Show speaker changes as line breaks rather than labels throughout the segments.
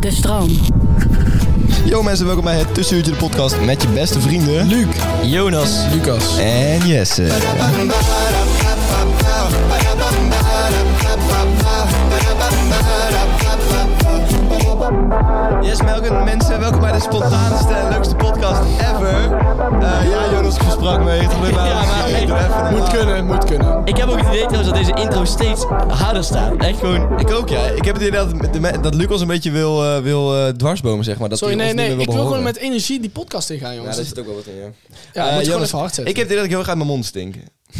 De stroom.
Yo mensen, welkom bij het Tussenuurtje de podcast met je beste vrienden... Luc, Jonas
Lucas.
en Jesse. Yes, welkom mensen, welkom bij de spontaanste en leukste podcast ever. Eh, ja, Jonas, ik versprak me. Het gebeurt wel.
Ja, maar-
Ik doe even een-
Moet kunnen, moet kunnen.
Ik heb ook het idee trouwens dat deze intro steeds harder staat. Echt gewoon.
Ik ook, ja. Ik heb het idee dat, de me- dat Luc ons een beetje wil, eh, wil eh, dwarsbomen, zeg maar. Dat
Sorry,
hij
nee,
ons niet
nee.
meer
Ik wil
behoren.
gewoon met energie die podcast ingaan,
Ja,
jongens.
daar
Ja,
zit ook wel wat in, ja.
ja, moet
Eh,
je gewoon
Jonas,
even hard zetten.
Ik heb het idee dat ik heel erg uit mijn mond stink.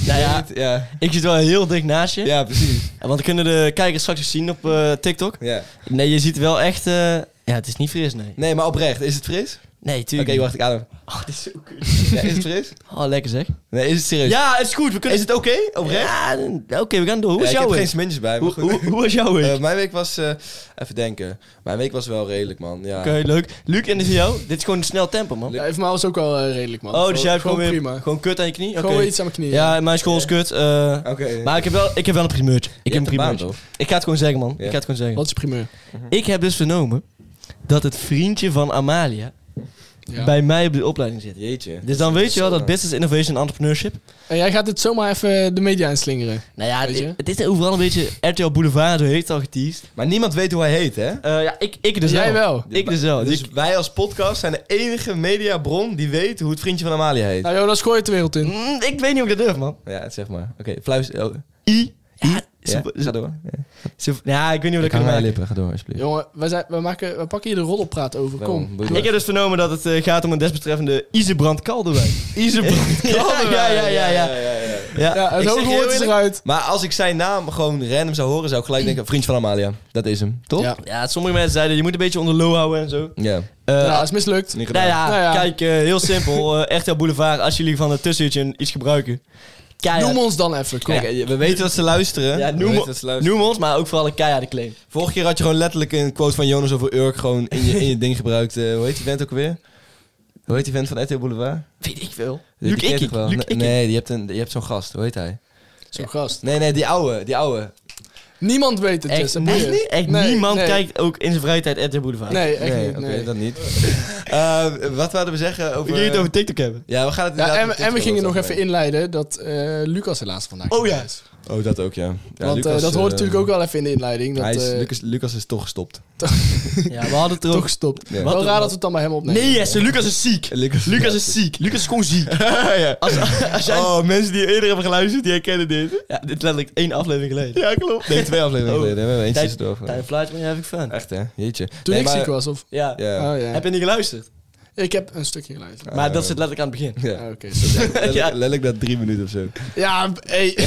Nou ja,
Ja,
ik zit wel heel dicht naast je.
ja precies.
Want we kunnen de kijkers straks ook zien op eh, TikTok.
Ja.
Nee, je ziet wel echt. eh, ja, het is niet fris, nee.
Nee, maar oprecht, is het fris?
Nee,
Oké,
tuurlijk.
wacht, ik adem.
Oh, dit is zo kut.
Ja, is het fris?
Oh, lekker zeg.
Nee, is het serieus?
Ja, het is goed. We kunnen.
Dus- Is het oké? Oprecht?
Ja, oké, we gaan door. Hoe
Ja,
is
ik
jouw
heb
week?
geen smintjes bij me.
Hoe,
goed.
hoe, hoe was jouw week?
Eh, mijn week was, eh, even denken. Mijn week was wel redelijk, man. Ja.
oké, leuk. Luc, en voor jou? Dit is gewoon een snel tempo, man.
Ja, even maar was ook wel eh, redelijk, man.
Oh, dus jij hebt gewoon,
gewoon
weer
prima.
gewoon kut aan je knie? Oké.
Gewoon weer iets aan mijn knieën.
Ja, mijn school is kut. eh,
Oké.
Maar ik heb, wel, ik heb wel een primeurtje. Ik heb
Je
een
hebt een baan,
primeurtje. ik ga het gewoon zeggen, man. Ik
Ja.
ga het gewoon zeggen.
Wat is je primeur?
Ik heb dus vernomen dat het vriendje van Amalia
Ja.
bij mij op de opleiding zit.
Jeetje.
Dus dan weet je wel dat
Zo, eh,
business, innovation en entrepreneurship.
En jij gaat dit zomaar even eh, de media inslingeren.
Nou ja,
Weet je?
het is overal een beetje RTL Boulevard, zo heet het al geteased.
Maar niemand weet hoe hij heet, hè?
Eh, ja, ik, ik dus
jij wel.
Ik dus wel.
Dus
Dus ik-
wij als podcast zijn de enige mediabron die weet hoe het vriendje van Amalia heet.
Nou, Jonas, gooi het de wereld in.
Mm, ik weet niet of ik dat durf, man.
Ja, zeg maar. Oké, fluister. oh,
I. Ja,
ja,
ze-
ga door.
ze- ja, ik weet niet of ik dat
Hang
kan
aan je
maken.
lippen, ga door, alsjeblieft.
Jongen, we, zijn, we, maken, we pakken hier de roddelpraat over.
Ja, man,
Kom.
boeit me.
Ik heb dus vernomen dat het eh, gaat om een desbetreffende Isebrand Kaldewijk.
Isebrand
ja, ja, ja, ja, ja.
ja.
ja.
Ja, het
Ik zeg
hoge
je
woord
heel
is
eerlijk,
eruit.
Maar als ik zijn naam gewoon random zou horen, zou ik gelijk denken: vriend van Amalia. Dat is hem, toch?
Ja.
Ja, sommige mensen zeiden je moet een beetje onder low houden en zo.
Ja.
Eh,
Ja, is mislukt.
Niet gedaan.
Nou ja,
Nou ja.
kijk, eh, heel simpel. eh RTL Boulevard, als jullie van het tussenuurtje een- iets gebruiken. Keihard.
Noem ons dan even. Kom.
Kijk, eh, we weten dat ze luisteren.
Ja,
We
noem,
weten
o-
dat ze luisteren.
noem ons, maar ook vooral een keiharde claim.
Vorige keer had je gewoon letterlijk een quote van Jonas over Urk gewoon in je, in je ding gebruikt. Eh, hoe heet die vent ook weer? Hoe heet die vent van RTL Boulevard?
Weet ik veel.
Die
Luc
ken je
Ikkie.
toch wel?
Luc
Nee,
Ikkie.
Nee, die hebt een, je hebt zo'n gast. Hoe heet hij?
Zo'n gast.
Nee, nee, die ouwe. Die ouwe.
Niemand weet het,
Echt,
Jesse.
nee,
boeien.
echt
Nee,
niemand
nee.
kijkt ook in zijn vrije tijd RTL Boulevard.
Nee, echt
nee,
niet.
oké,
nee.
dat niet. Eh, wat wilden we zeggen over...
We gingen het over TikTok hebben.
Ja, we gaan het
Ja,
inderdaad
en,
over
en we
TikTok
gingen nog
over
even inleiden dat eh, Lucas helaas vandaag
Oh ja.
niet is.
hebben. Oh, dat ook, ja. Ja,
Want eh,
Lucas,
dat hoort
eh,
natuurlijk ook wel even in de inleiding. Dat,
hij is,
eh,
Lucas, Lucas is toch gestopt.
Ja, we hadden het er
toch
ook.
gestopt.
Ja.
Wat
Wel
een-
raar dat we het dan bij hem opnemen.
Nee, Jesse, Lucas is ziek.
Lucas-
Lucas is ziek. Lucas is gewoon ziek. Als, als jij...
Oh, mensen die eerder hebben geluisterd, die herkennen dit.
Ja, dit letterlijk één aflevering geleden.
Ja, klopt. Nee, twee afleveringen
Oh.
geleden. We hebben eentje
Tijd-
tussendoor.
Time flies when you're having fun.
Echt, hè? Jeetje.
Toen
Nee,
ik
maar-
ziek was. Of,
Ja.
Ja.
Oh, ja.
Heb je niet geluisterd?
Ik heb een stukje geluisterd.
Maar
Eh,
dat zit letterlijk aan het begin.
Ja.
Ah, Oké. sorry.
Letterlijk,
Ja.
letterlijk na drie minuten of zo.
ja, hey.
Ja,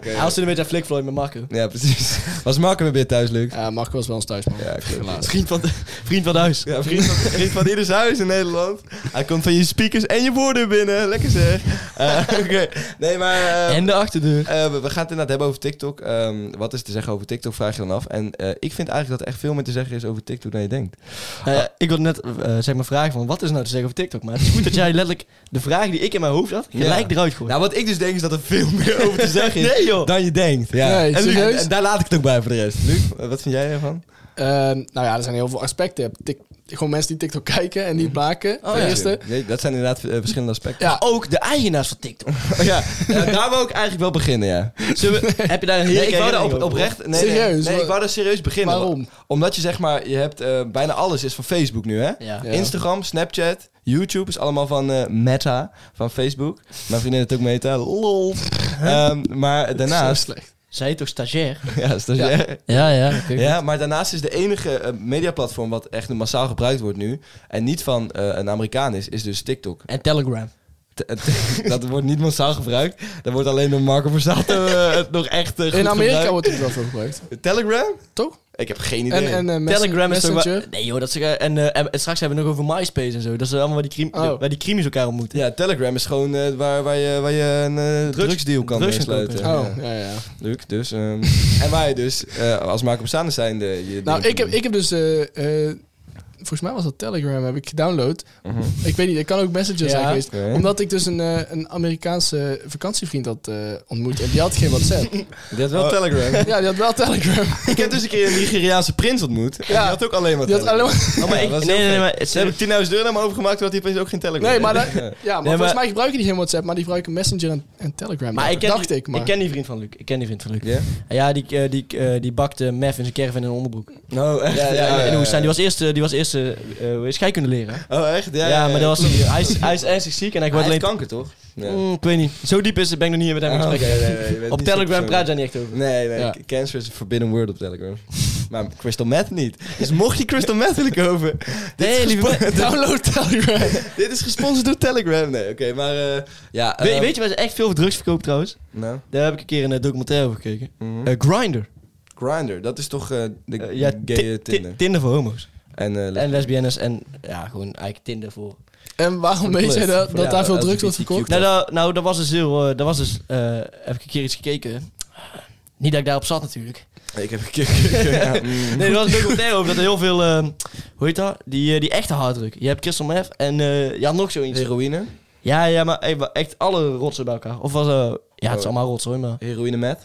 Hij was toen een beetje aan flikvlooi met Marco.
ja precies. Was Marco weer bij je thuis, Luc?
Ja, Marco was wel eens thuis, man.
Ja, ik weet het.
Helaas.
Vriend van, de- vriend van het huis.
Ja, vriend van, vriend van ieders huis in Nederland. Hij komt van je speakers en je woorden binnen. Lekker zeg. Eh, Oké. Nee, maar... eh,
En de achterdeur.
eh, we we gaan het inderdaad hebben over TikTok. Ehm, wat is te zeggen over TikTok, vraag je dan af. En eh, ik vind eigenlijk dat er echt veel meer te zeggen is over TikTok dan je denkt.
Nou ja, ik wilde net eh, zeg maar vragen van wat is nou te zeggen over TikTok? Maar het is goed dat jij letterlijk de vraag die ik in mijn hoofd had, gelijk
Ja.
eruit gooit.
Nou, wat ik dus denk is dat er veel meer over te zeggen is
nee joh.
dan je denkt. Ja.
Nee,
en, Luc,
serieus?
en daar laat ik het ook bij voor de rest. Luc, eh, wat vind jij ervan?
Ehm, nou ja, er zijn heel veel aspecten. Tik- gewoon mensen die TikTok kijken en die
Mhm.
blaken.
Oh,
ten
ja.
eerste.
Nee, dat zijn inderdaad eh, verschillende aspecten.
Ja.
Ook de eigenaars van TikTok.
Oh, ja. Ja, daar wou ik eigenlijk wel beginnen, ja. Zullen we-
Heb je daar een
Nee, ik wou daar
herinnering
op,
over?
oprecht... Nee,
Serieus?
Nee, nee, ik wou daar serieus beginnen.
Waarom?
Omdat je zeg maar, je hebt eh, bijna alles is van Facebook nu, hè?
Ja.
Ja.
Instagram, Snapchat, YouTube is allemaal van eh, Meta, van Facebook. Mijn vriendin heeft ook Meta, lol. Ehm, maar daarnaast...
Zo slecht.
Zij toch stagiair?
Ja, stagiair.
Ja, ja. oké.
Ja, maar daarnaast is de enige eh, mediaplatform wat echt massaal gebruikt wordt nu... en niet van eh, een Amerikaan is, is dus TikTok.
En Telegram.
T- eh, t- dat wordt niet massaal gebruikt. Dat wordt alleen door Marco Verstappen eh, het nog echt eh, goed
In Amerika
gebruikt.
wordt het wel veel gebruikt.
Telegram?
Toch?
Ik heb geen idee.
En, en eh, mes-
Telegram is toch wel-
Messenger.
Nee joh, dat is, eh, en, eh, en straks hebben we het nog over MySpace en zo. Dat is allemaal waar die, crime,
Oh.
waar die crimies elkaar ontmoeten.
Ja, Telegram is gewoon eh, waar, waar, je, waar je een eh,
Drugs-
drugsdeal kan
drugs
sluiten.
kan
Oh, ja, ja.
Leuk, dus. ehm, en wij dus, eh, als Marco Bestaander zijn... De, je
Nou,
dingen
ik heb,
doen.
ik heb dus... eh, eh, volgens mij was dat Telegram, heb ik gedownload.
Mhm.
Ik weet niet, het kan ook Messenger zijn
Ja.
geweest.
Oké.
Omdat ik dus een, eh, een Amerikaanse vakantievriend had eh, ontmoet. En die had geen WhatsApp.
Dit is wel
Oh.
Telegram.
ja, die had wel Telegram.
ik heb dus een keer een Nigeriaanse prins ontmoet. Ja. Die
Ja.
had ook alleen maar
Die had alleen maar-
Oh, maar ik,
nee, nee, nee, maar het-
Ze hebben 10.000 euro naar me overgemaakt, omdat hij opeens ook geen Telegram
Nee, maar,
heeft.
dat- ja, maar volgens mij gebruiken die geen WhatsApp, maar die gebruiken Messenger en, en Telegram.
Maar ik ken,
dacht
die,
ik, maar...
ken die vriend van Luc. Ik ken die vriend van Luc.
Ja?
Ja, die, eh, die, eh, die bakte meth in zijn caravan in een onderbroek.
Oh, echt?
Ja, Nou, in de woestijn. Die was eerst, eh, die was eerst eh, eh, hoe is scheikunde leren. Ja,
Oh, echt? Ja,
maar dat was, hij, is, hij is ernstig ziek en hij wordt
Hij
alleen...
heeft kanker, toch? Ja.
Mm, ik weet niet. Zo diep is het, ben ik nog niet met hem in
Ah,
gesprek.
oké, nee, nee, je bent
Op
niet
Telegram
zo-
praat je daar niet echt over.
Nee, nee.
Ja.
k- Cancer is een forbidden word op Telegram. maar crystal meth niet. Dus mocht je crystal meth willen kopen... dit is
Nee, lieve
gespo-
Download Telegram.
Dit is gesponsord door Telegram. Nee, oké, maar... eh, ja,
We-
eh,
weet je waar ze echt veel drugs verkoopt trouwens?
Nou,
Daar heb ik een keer een eh, documentaire over gekeken.
mhm.
Eh, Grindr.
Grindr, dat is toch eh, de
Eh,
ja,
ja, ti- ti-
gay Tinder.
Tinder voor homo's.
en, eh,
En lesbiennes en ja, gewoon eigenlijk Tinder voor...
En waarom weet jij dat, dat
Ja,
daar veel drugs
LGBTQ+.
wordt verkocht?
Nou, dat, nou, dat was dus heel... eh, dat was dus... eh, heb ik een keer iets gekeken. Niet dat ik daarop zat natuurlijk.
ik heb een keer... ja, mm.
Nee, er was een documentaire over dat er heel veel... eh, hoe heet dat? Die, eh, die echte harddruk. Je hebt crystal meth en eh, je had nog zoiets.
Heroïne.
Ja, ja, maar eh, maar echt alle rotsen bij elkaar. Of was... eh, ja, het is
Oh.
allemaal rotzooi, maar...
Heroïne met.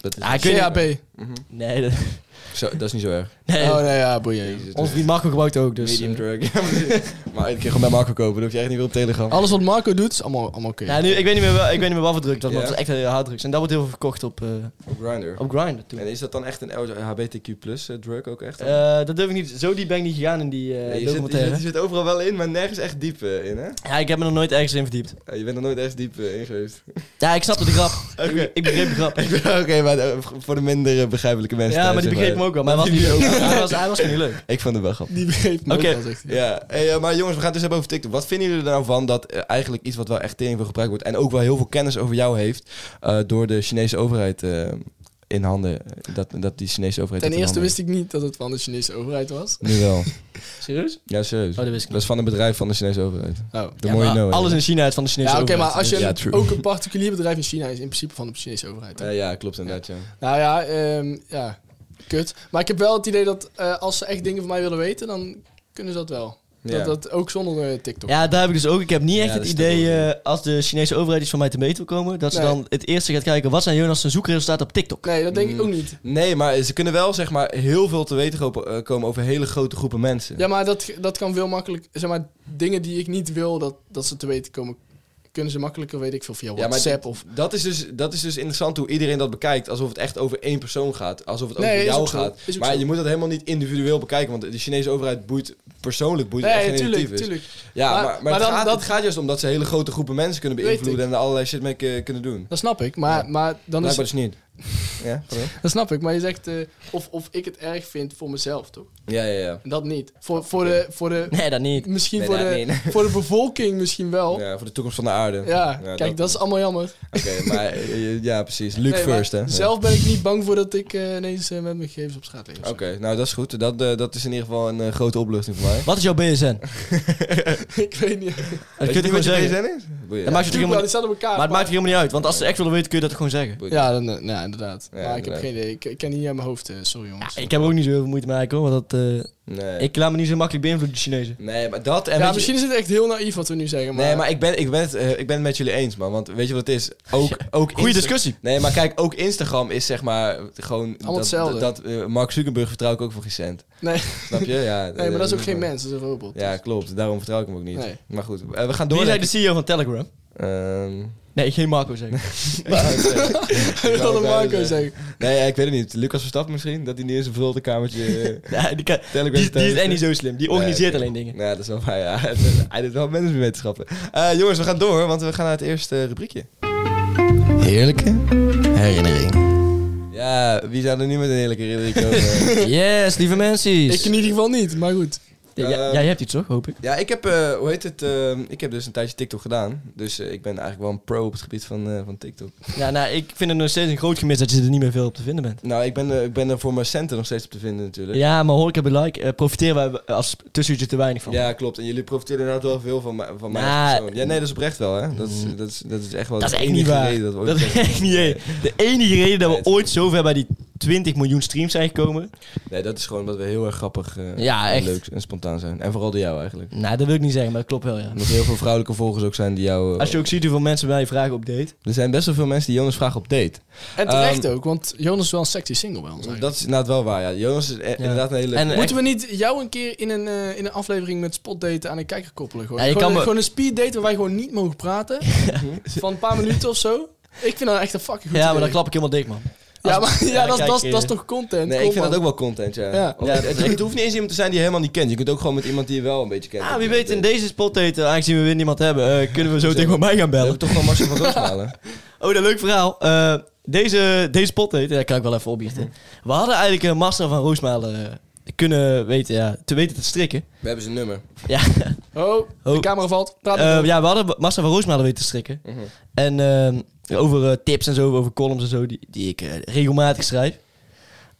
Dat is,
Ja, Ah, ik weet niet-
GHB.
mhm.
Nee, dat-
Zo, dat is niet zo erg.
nee.
Oh, nee, ja, boeien.
Jezus,
Ons vriend Marco gebruikt ook, dus...
medium
eh,
drug. Ja, precies. maar ik kan gewoon bij Marco kopen. Dan hoef je echt niet meer op Telegram.
Alles wat Marco doet, is allemaal, allemaal oké.
ja, nu, ik, weet niet meer wel, ik weet niet meer wat voor druk dat was, maar
Ja.
het was echt eh, harddrugs. En dat wordt heel veel verkocht op, eh
Op Grindr.
op Grindr toen.
En is dat dan echt een LHBTQ plus drug ook echt?
Eh, dat durf ik niet. Zo diep ben ik niet gegaan in die eh
Nee, je, zit, je,
documentaire.
zit, je zit overal wel in, maar nergens echt diep eh, in, hè?
Ja, ik heb me nog nooit ergens in verdiept.
Eh, je bent er nooit echt diep eh, in geweest.
Ja, ik snapte de grap.
Oké,
Ik begreep de grap.
Oké, maar eh, voor de minder eh, begrijpelijke mensen.
Ja,
thuis,
maar die
zeg
begreep me ook wel. Maar hij was, niet leuk. Hij was, hij was gewoon niet leuk.
Ik vond het wel grappig.
Die begreep me ook
Oké.
wel, zegt hij.
Ja, hey, eh, maar jongens, we gaan het dus hebben over TikTok. Wat vinden jullie er nou van dat eh, eigenlijk iets wat wel echt tering veel gebruikt wordt... en ook wel heel veel kennis over jou heeft eh, door de Chinese overheid eh, in handen... eh, Dat, dat die Chinese overheid
Ten eerste wist ik niet dat het van de Chinese overheid was.
Nu wel.
Serieus?
Ja, serieus.
Oh, dat wist ik
Dat is van een bedrijf van de Chinese overheid.
Oh.
De mooie know, hè?
alles in China is van de Chinese
Ja, oké, maar
overheid.
als je
Ja,
een-
true.
ook een particulier bedrijf in China is, in principe van de Chinese overheid.
Eh, ja, klopt inderdaad, ja.
Nou ja, ehm, ja, kut. Maar ik heb wel het idee dat eh, als ze echt dingen van mij willen weten, dan kunnen ze dat wel.
Ja.
Dat, dat ook zonder eh, TikTok.
Ja, daar heb ik dus ook. Ik heb niet
Ja,
echt
dat
het
is toch
idee,
wel
eh, als de Chinese overheid iets van mij te weten wil komen, dat ze
Nee.
dan het eerste gaat kijken, wat zijn Jonas' zijn zoekresultaten op TikTok?
Nee, dat denk ik ook
Mm.
niet.
Nee, maar ze kunnen wel zeg maar heel veel te weten go- eh, komen over hele grote groepen mensen.
Ja, maar dat, dat kan veel makkelijk. Zeg maar, dingen die ik niet wil dat, dat ze te weten komen, kunnen ze makkelijker, weet ik veel, via
maar
WhatsApp
d-
of.
dat, is dus, dat is dus interessant hoe iedereen dat bekijkt. Alsof het echt over één persoon gaat. Alsof het
Nee,
over
is
jou
ook zo.
gaat.
Is ook
Maar
zo.
je moet dat helemaal niet individueel bekijken. Want de Chinese overheid boeit persoonlijk boeit het echt
Nee,
geen
tuurlijk,
reet is.
tuurlijk.
Ja, maar,
Maar-
maar,
maar
het,
dan-
gaat,
dat-
het gaat juist om dat ze hele grote groepen mensen kunnen
Weet ik.
beïnvloeden. En er allerlei shit mee k- kunnen doen.
Dat snap ik, maar, maar dan is
Blijkbaar dus niet. Ja, pardon?
Dat snap ik, maar je zegt eh, of, of ik het erg vind voor mezelf, toch?
ja, ja. ja.
En dat niet. Voor, voor de, voor de,
Nee, dat niet.
misschien
Nee,
voor,
nee,
de
nee, nee.
voor de bevolking misschien wel. Ja,
Ja, voor de toekomst van de aarde.
kijk, dat, is allemaal jammer.
Oké, maar eh, ja, precies. Luke
Nee, maar
first, hè? Ja.
Zelf ben ik niet bang voor dat ik eh, ineens eh, met mijn gegevens op straat leef.
Oké, nou dat is goed. Dat, eh, dat is in ieder geval een eh, grote opluchting voor mij.
Wat is jouw BSN?
ik weet niet.
Dat kun je gewoon zeggen.
BSN is? Boeien.
Dat maakt het
Tuurlijk wel,
helemaal
die
niet-
staan op elkaar.
Maar het maakt er helemaal niet uit, want als ze echt willen weten kun je dat gewoon zeggen.
Boeien.
Ja, dan, eh, nou, inderdaad.
Ja,
maar ik
inderdaad.
heb geen idee. Ik, ik ken niet aan mijn hoofd, eh, sorry jongens.
Ik heb er ook niet zo heel veel moeite mee eigenlijk hoor, want dat, eh,
Nee.
Ik laat me niet zo makkelijk beïnvloeden, de Chinezen.
nee, maar dat... En weet
Ja,
je-
misschien is het echt heel naïef wat we nu zeggen. Maar,
Nee, maar ik ben, ik, ben het, eh, ik ben het met jullie eens, man. Want weet je wat het is? Ook, ook
Goeie
Insta-
discussie.
Nee, maar kijk, ook Instagram is zeg maar gewoon... dat,
hetzelfde.
Dat, eh, Mark Zuckerberg vertrouw ik ook voor geen cent.
Nee.
Snap je? Ja, eh,
nee, maar dat is ook geen mens, dat is een robot.
Ja, klopt. Daarom vertrouw ik hem ook niet.
Nee.
Maar goed, eh, we gaan
Wie
door.
zei de CEO van Telegram?
Ehm,
Nee, geen Marco zeggen.
Ik wilde Marco zeggen.
nee, ja, ik weet het niet. Lucas Verstappen misschien? Dat hij niet in zijn vulde kamertje... eh,
nee, die, kan,
Telegram
die, die is
thuis-
echt niet zo slim. Die organiseert
Nee, oké.
alleen dingen.
Ja, dat is wel waar, ja. Hij doet wel managementwetenschappen. Eh jongens, we gaan door, want we gaan naar het eerste eh, rubriekje.
Heerlijke herinnering.
Ja, wie zou er nu met een heerlijke rubriek komen?
Yes, lieve mensen.
Ik in ieder geval niet, maar goed.
Ja, jij-
Ehm,
jij hebt iets, toch? Hoop ik.
Ja, ik heb, eh, hoe heet het, eh, ik heb dus een tijdje TikTok gedaan. Dus eh, ik ben eigenlijk wel een pro op het gebied van, eh, van TikTok.
Ja, nou, ik vind het nog steeds een groot gemis dat je er niet meer veel op te vinden bent.
Nou, ik ben, eh, ik ben er voor mijn centen nog steeds op te vinden natuurlijk.
Ja, maar hoor ik heb een like. eh, profiteren wij eh, als tussenuurtje te weinig van.
Ja, klopt. En jullie profiteren inderdaad wel veel van, mij- van mijn
Nou, mm.
eigen persoon. Ja, nee, dat is oprecht wel, hè. Dat is, dat is, dat is echt wel
Dat is
de
echt niet
enige
waar.
reden dat we ooit
Dat is echt niet hé. De enige reden dat
Nee,
we
het is
ooit zover bij die 20 miljoen streams zijn gekomen.
Nee, dat is gewoon dat we heel erg grappig eh,
Ja,
en
echt.
leuk en spontaan zijn. En vooral door jou eigenlijk.
Nou, dat wil ik niet zeggen, maar dat klopt wel, ja.
Omdat er heel veel vrouwelijke volgers ook zijn die jou... eh,
Als je ook ziet hoeveel mensen mij vragen op date.
Er zijn best wel veel mensen die Jonas vragen op date.
En terecht ook, want Jonas is wel een sexy single bij ons. eigenlijk.
Ehm, Dat is inderdaad wel waar, ja. Jonas is eh, inderdaad een hele...
En, eh,
Moeten we niet jou een keer in een, eh, in een aflevering met spotdaten aan een kijker koppelen? Gewoon,
Ja, je
gewoon,
kan
een,
me-
gewoon een speeddate waar wij gewoon niet mogen praten. van een paar minuten of zo. Ik vind dat echt een fucking goed
Ja, maar
idee.
dan klap ik helemaal dik, man.
Ja, maar ja, dat, is-
kijk,
dat, is-
eh,
dat is toch content?
Nee,
Kom,
ik vind
man.
dat ook wel content, ja.
Ja.
Want het, het- het hoeft niet eens iemand te zijn die je helemaal niet kent. Je kunt ook gewoon met iemand die je wel een beetje kent.
Ah, wie weet in deze spotdate, eh, aangezien we weer niemand hebben, eh, kunnen we zo tegen mij gaan
We
bellen.
hebben toch gewoon Marcel van Roosmalen.
Oh, dat leuk verhaal. Eh, deze, deze spotdate, daar kan ik wel even
Mhm.
opbiechten. We hadden eigenlijk een master van Roosmalen eh, kunnen weten, ja, te weten te strikken.
We hebben zijn nummer.
Ja,
Oh, de
Oh.
camera valt. Praat
Eh,
maar door.
ja we hadden master van Roosmalen weten te strikken.
Mhm.
En eh, over eh, tips en zo, over columns en zo, die, die ik eh, regelmatig schrijf.